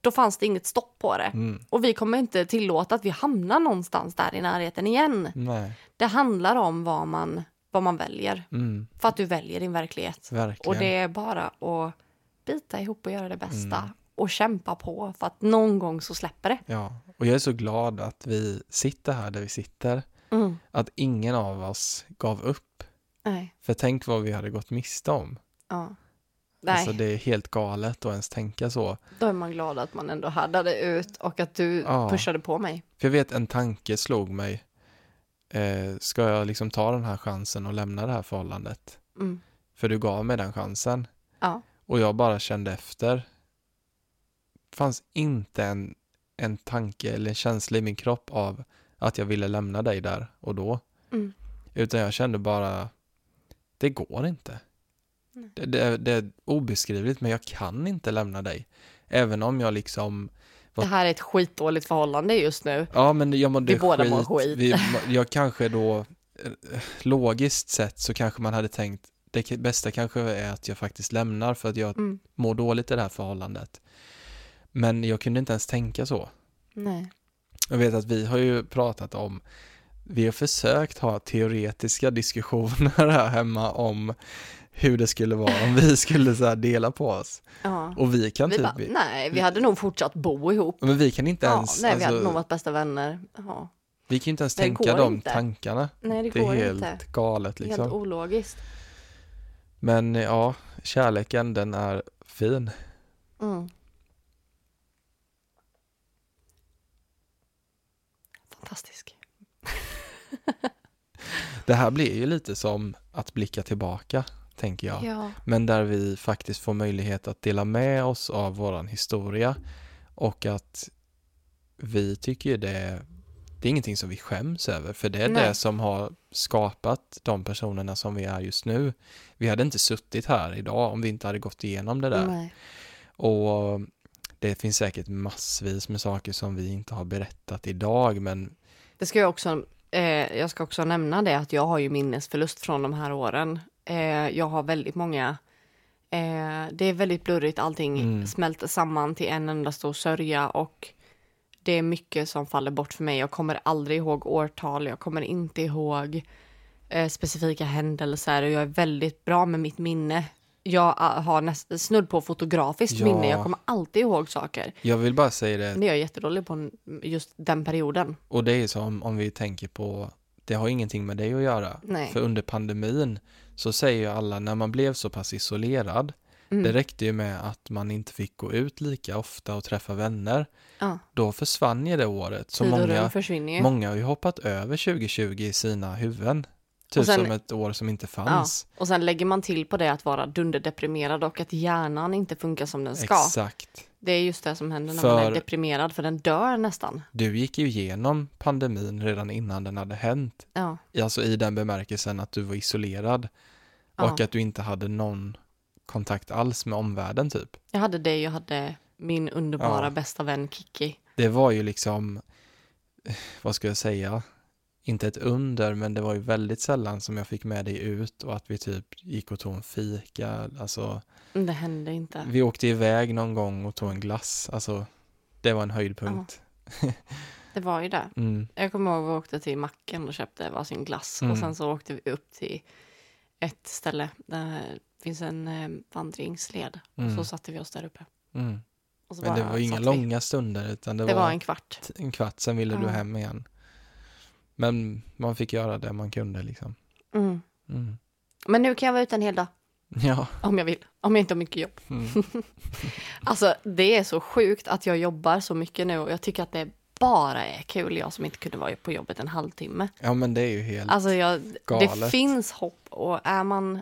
B: då fanns det inget stopp på det.
A: Mm.
B: Och vi kommer inte tillåta att vi hamnar någonstans där i närheten igen.
A: nej,
B: Det handlar om vad man, vad man väljer,
A: mm,
B: för att du väljer din verklighet.
A: verkligen. Mm.
B: Och det är bara att bita ihop och göra det bästa och kämpa på för att någon gång så släpper det.
A: Ja, och jag är så glad att vi sitter här där vi sitter.
B: Mm.
A: Att ingen av oss gav upp.
B: Nej.
A: För tänk vad vi hade gått miste om.
B: Ja. Nej,
A: Alltså det är helt galet att ens tänka så.
B: då är man glad att man ändå härdade ut och att du
A: Ja.
B: pushade på mig.
A: För jag vet en tanke slog mig. Eh, ska jag liksom ta den här chansen och lämna det här förhållandet?
B: Mm.
A: För du gav mig den chansen.
B: Ja.
A: Och jag bara kände efter. fanns inte en en tanke eller en känsla i min kropp av att jag ville lämna dig där och då.
B: Mm.
A: Utan jag kände bara, det går inte.
B: Nej.
A: Det, det, är- det är obeskrivligt, men jag kan inte lämna dig. Även om jag liksom,
B: Det här är ett skitdåligt förhållande just nu.
A: ja men jag mådde
B: Vi båda mår skit.
A: Vi, jag kanske då, eh, logiskt sett så kanske man hade tänkt, det k- bästa kanske är att jag faktiskt lämnar för att jag
B: Mm.
A: mår dåligt i det här förhållandet. Men jag kunde inte ens tänka så.
B: Nej.
A: Jag vet att vi har ju pratat om, vi har försökt ha teoretiska diskussioner här hemma om hur det skulle vara om vi skulle så här dela på oss.
B: Ja.
A: Och vi kan
B: Vi
A: typ,
B: bara, nej, vi hade nog fortsatt bo ihop.
A: men vi kan inte
B: Ja,
A: ens,
B: nej, vi hade nog
A: alltså,
B: varit bästa vänner. Ja.
A: vi kan inte ens
B: Det
A: tänka
B: går
A: de
B: inte. Mm.
A: tankarna.
B: Nej, det,
A: Det är
B: går
A: helt
B: inte.
A: galet liksom.
B: Helt ologiskt.
A: Men ja, kärleken den är fin.
B: Mm. Fantastisk.
A: Det här blir ju lite som att blicka tillbaka, tänker jag.
B: Ja.
A: men där vi faktiskt får möjlighet att dela med oss av våran historia och att vi tycker ju det, det är ingenting som vi skäms över för det är
B: Nej.
A: det som har skapat de personerna som vi är just nu. Vi hade inte suttit här idag om vi inte hade gått igenom det där
B: Nej.
A: och eh, det finns säkert massvis med saker som vi inte har berättat idag men
B: Det ska jag också, eh, jag ska också nämna det att jag har ju minnesförlust från de här åren. Eh, jag har väldigt många, eh, det är väldigt blurrigt, allting
A: Mm.
B: smälter samman till en enda stor sörja och det är mycket som faller bort för mig. Jag kommer aldrig ihåg årtal, jag kommer inte ihåg eh, specifika händelser och jag är väldigt bra med mitt minne. Jag eh, har näst, snudd på fotografiskt
A: Ja.
B: minne, jag kommer alltid ihåg saker.
A: jag vill bara säga det
B: Men det är jag jättedålig på n- just den perioden.
A: Och det är som om vi tänker på, det har ingenting med dig att göra.
B: Nej.
A: För under pandemin så säger ju alla, när man blev så pass isolerad,
B: Mm.
A: det räckte ju med att man inte fick gå ut lika ofta och träffa vänner.
B: Ja.
A: Då försvann ju det året. Så
B: Tid och rum
A: många,
B: försvinner ju.
A: många har ju hoppat över 2020 i sina huvuden. Typ
B: Och sen-
A: som ett år som inte fanns.
B: Och sen lägger man till på det att vara dunderdeprimerad och att hjärnan inte funkar som den ska.
A: Exakt.
B: Det är just det som händer när man
A: För-
B: är deprimerad, för den dör nästan.
A: Du gick ju igenom pandemin redan innan den hade hänt.
B: Ja,
A: Alltså i den bemärkelsen att du var isolerad.
B: ja.
A: Och att du inte hade någon kontakt alls med omvärlden typ.
B: Jag hade det, jag hade min underbara
A: Ja.
B: bästa vän Kiki.
A: Det var ju liksom, eh, vad ska jag säga, inte ett under, men det var ju väldigt sällan som jag fick med dig ut och att vi typ gick och tog en fika. Alltså,
B: Men Det hände inte.
A: vi åkte iväg någon gång och tog en glass. Alltså, det var en höjdpunkt.
B: Det var ju det.
A: Mm.
B: Jag kommer ihåg att vi åkte till macken och köpte varsin glass
A: Mm.
B: och sen så åkte vi upp till ett ställe där det finns en eh, vandringsled.
A: Mm.
B: Och så satte vi oss där uppe.
A: Mm.
B: Och så
A: Men det
B: bara
A: var ju inga
B: satt vi.
A: långa stunder, utan det,
B: Det
A: var
B: var en kvart.
A: t- en kvart, sen ville du
B: Ja.
A: hem igen. Men man fick göra det man kunde liksom.
B: Mm.
A: Mm.
B: Men nu kan jag vara ute en hel dag.
A: Ja.
B: Om jag vill, om jag inte har mycket jobb.
A: Mm.
B: Alltså det är så sjukt att jag jobbar så mycket nu och jag tycker att det bara är kul, jag som inte kunde vara på jobbet en halvtimme.
A: ja, men det är ju helt...
B: Alltså jag, det
A: Galet.
B: finns hopp och är man,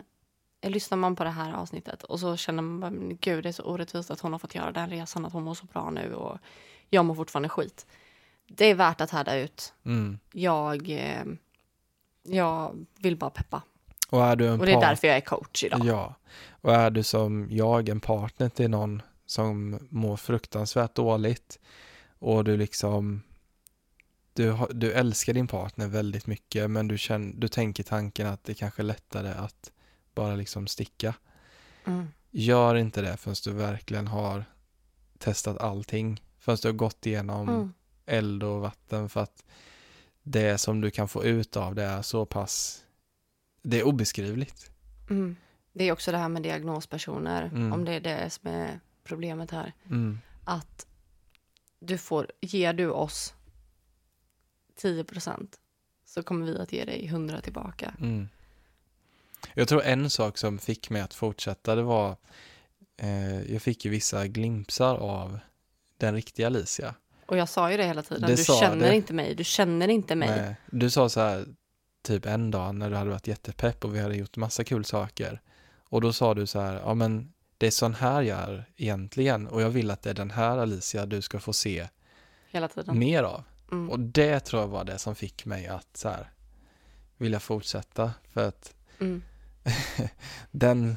B: lyssnar man på det här avsnittet och så känner man, bara, "Men gud det är så orättvist att hon har fått göra den resan, att hon mår så bra nu och jag mår fortfarande skit. Det är värt att härda ut.
A: Mm.
B: Jag, eh, jag vill bara peppa
A: Och är du en
B: och det är
A: part-
B: därför jag är coach idag.
A: Ja, och är du som jag en partner till någon som mår fruktansvärt dåligt och du liksom du, har- du älskar din partner väldigt mycket men du, känner, du tänker tanken att det kanske är lättare att bara liksom sticka.
B: Mm.
A: Gör inte det förrän du verkligen har testat allting. Förrän du har gått igenom
B: Mm.
A: eld och vatten för att det som du kan få ut av det är så pass, det är obeskrivligt.
B: Mm. Det är också det här med diagnospersoner,
A: Mm.
B: om det är det som är problemet här.
A: Mm.
B: Att du får, ger du oss 10 så kommer vi att ge dig 100 tillbaka.
A: Mm. Jag tror en sak som fick mig att fortsätta det var eh, jag fick ju vissa glimpsar av den riktiga Alicia.
B: Och jag sa ju det hela tiden,
A: Det
B: du
A: sa
B: känner
A: du.
B: inte mig, du känner inte mig.
A: Nej, Du sa så här typ en dag när du hade varit jättepepp och vi hade gjort massa kul saker och då sa du så här, ja men det är sån här jag är egentligen och jag vill att det är den här Alicia du ska få se
B: hela tiden.
A: mer av.
B: Mm.
A: Och det tror jag var det som fick mig att så här, vilja fortsätta. För att
B: Mm.
A: den,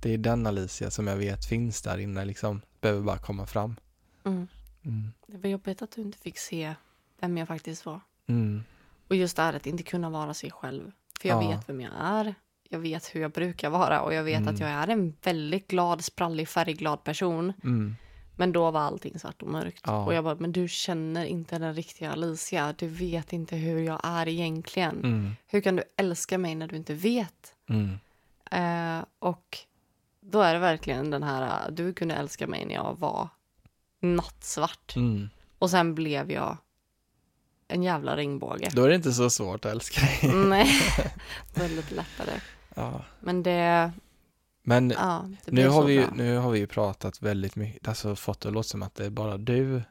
A: det är den Alicia som jag vet finns där inne liksom. Behöver bara komma fram.
B: Mm.
A: Mm.
B: Det var jobbigt att du inte fick se vem jag faktiskt var.
A: Mm.
B: Och just det här att inte kunna vara sig själv. För jag
A: Ja.
B: vet vem jag är. Jag vet hur jag brukar vara och jag vet
A: Mm.
B: att jag är en väldigt glad, sprallig, färgglad person.
A: Mm.
B: Men då var allting svart och mörkt.
A: Ja.
B: Och jag bara, men du känner inte den riktiga Alicia. Du vet inte hur jag är egentligen.
A: Mm.
B: Hur kan du älska mig när du inte vet?
A: Mm.
B: Eh, och då är det verkligen den här, eh, du kunde älska mig när jag var nattsvart.
A: Mm.
B: Och sen blev jag en jävla regnbåge.
A: Då är det inte så svårt att älska dig.
B: Nej, det var lite lättare.
A: Ja.
B: Men det,
A: Men
B: ja, det
A: nu
B: blev
A: har,
B: så
A: vi ju,
B: bra.
A: nu har vi ju pratat väldigt mycket, alltså fått det att låta som att det är bara du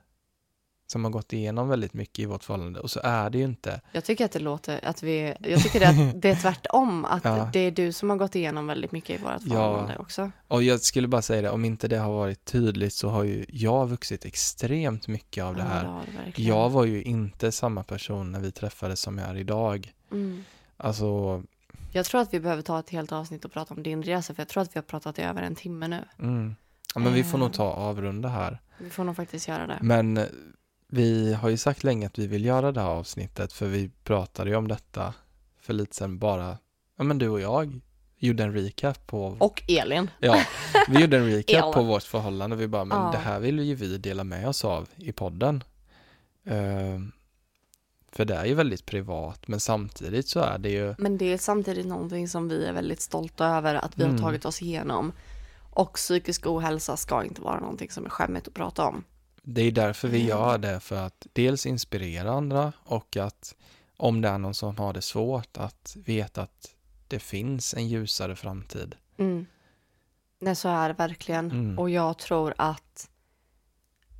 A: som har gått igenom väldigt mycket i vårt förhållande och så är det ju inte.
B: Jag tycker att det låter, att vi, jag tycker det, att det är tvärtom. Att
A: Ja.
B: det är du som har gått igenom väldigt mycket i vårt
A: Ja.
B: förhållande också.
A: Och jag skulle bara säga det, om inte det har varit tydligt så har ju jag vuxit extremt mycket av det
B: Ja,
A: här.
B: har du verkligen.
A: Jag var ju inte samma person när vi träffades som jag är idag.
B: Mm.
A: Alltså,
B: Jag tror att vi behöver ta ett helt avsnitt och prata om din resa, för jag tror att vi har pratat i över en timme nu.
A: mm. ja, men vi får nog
B: Eh.
A: ta avrunda här.
B: Vi får nog faktiskt göra det.
A: Men vi har ju sagt länge att vi vill göra det här avsnittet för vi pratade ju om detta för lite sen bara, ja men du och jag gjorde en recap på,
B: Och Elin.
A: ja, vi gjorde en
B: Ja.
A: recap på vårt förhållande och vi bara, men
B: Ja.
A: det här vill ju vi dela med oss av i podden. Ehm, för det är ju väldigt privat men samtidigt så är det ju,
B: Men det är samtidigt någonting som vi är väldigt stolta över att vi har
A: Mm.
B: tagit oss igenom. Och psykisk ohälsa ska inte vara någonting som är skämmigt att prata om.
A: det är därför vi
B: Mm.
A: gör det för att dels inspirera andra och att om det är någon som har det svårt att veta att det finns en ljusare framtid.
B: Mm. Nej, så är det verkligen.
A: Mm.
B: Och jag tror att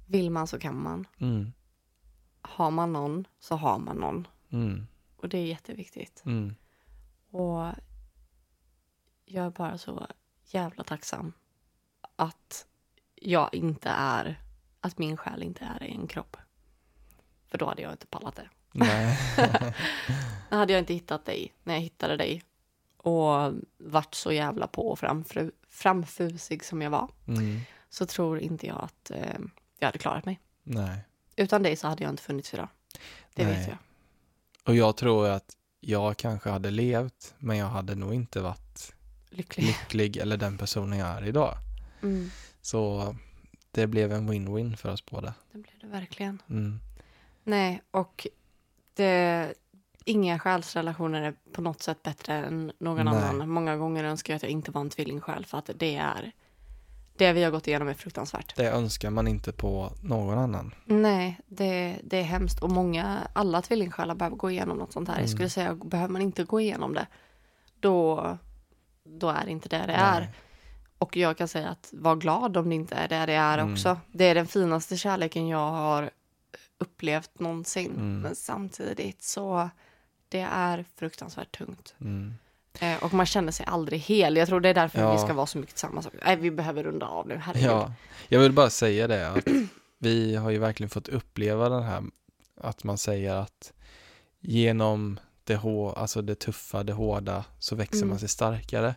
B: vill man så kan man.
A: Mm,
B: Har man någon så har man någon.
A: mm,
B: Och det är jätteviktigt.
A: mm.
B: Och jag är bara så jävla tacksam att jag inte är, att min själ inte är i en kropp. För då hade jag inte pallat det.
A: Nej.
B: Då hade jag inte hittat dig när jag hittade dig och varit så jävla på och framfru, framfusig som jag var
A: Mm,
B: så tror inte jag att eh, jag hade klarat mig.
A: nej.
B: Utan dig så hade jag inte funnits idag. Det vet
A: Nej.
B: jag.
A: Och jag tror att jag kanske hade levt, men jag hade nog inte varit
B: Lycklig.
A: lycklig eller den personen jag är idag.
B: Mm,
A: Så det blev en win-win för oss båda.
B: det blev det verkligen.
A: Mm,
B: Nej, och det, inga själsrelationer är på något sätt bättre än någon
A: Nej.
B: annan. Många gånger önskar jag att jag inte var en tvillingsjäl för att det är det vi har gått igenom är fruktansvärt.
A: det önskar man inte på någon annan.
B: Nej, det, det är hemskt och många, alla tvillingsjälar behöver gå igenom något sånt här. Jag skulle säga, behöver man inte gå igenom det, då, då är det inte det det är.
A: Nej.
B: Och jag kan säga att var glad om det inte är det det är
A: Mm.
B: också. Det är den finaste kärleken jag har upplevt någonsin.
A: Mm.
B: Men samtidigt så det är fruktansvärt tungt.
A: Mm.
B: Eh, och man känner sig aldrig hel. Jag tror det är därför
A: Ja.
B: vi ska vara så mycket tillsammans. Nej, vi behöver runda av nu, herregud.
A: Ja, jag vill bara säga det att vi har ju verkligen fått uppleva den här att man säger att genom det, hå, alltså det tuffa, det hårda så växer
B: Mm.
A: man sig starkare.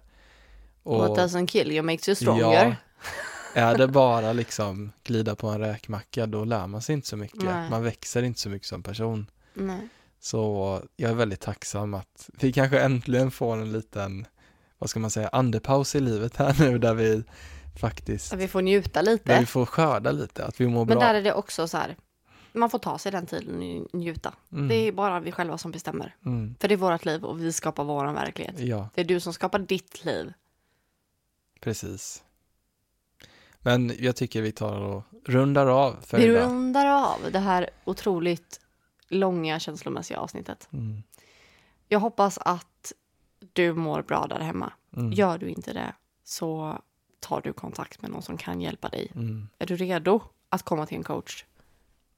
B: What doesn't kill you makes you stronger.
A: Ja, är det bara liksom glida på en räkmacka då lär man sig inte så mycket.
B: Nej.
A: Man växer inte så mycket som person.
B: Nej.
A: Så jag är väldigt tacksam att vi kanske äntligen får en liten, vad ska man säga, andepaus i livet här nu där vi faktiskt,
B: Att vi får njuta
A: där
B: lite.
A: vi får skörda lite, att vi mår
B: Men
A: bra.
B: där är det också så här, man får ta sig den tiden och nj- njuta.
A: Mm.
B: Det är bara vi själva som bestämmer.
A: Mm.
B: För det är vårt liv och vi skapar vår verklighet.
A: Ja,
B: Det är du som skapar ditt liv.
A: precis. Men jag tycker vi tar och rundar av för
B: Vi
A: idag.
B: rundar av det här otroligt långa känslomässiga avsnittet.
A: Mm.
B: Jag hoppas att du mår bra där hemma.
A: Mm.
B: Gör du inte det så tar du kontakt med någon som kan hjälpa dig.
A: Mm.
B: Är du redo att komma till en coach?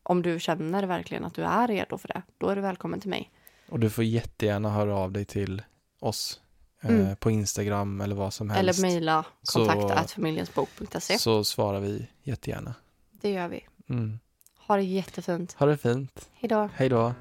B: Om du känner verkligen att du är redo för det, då är du välkommen till mig.
A: Och du får jättegärna höra av dig till oss eh,
B: Mm.
A: på Instagram eller vad som helst.
B: Eller mejla
A: Så-
B: kontakt@familjensbok.se.
A: Så svarar vi jättegärna.
B: Det gör vi.
A: Mm.
B: Ha det jättefint.
A: Ha det fint.
B: Hejdå.
A: Hej då.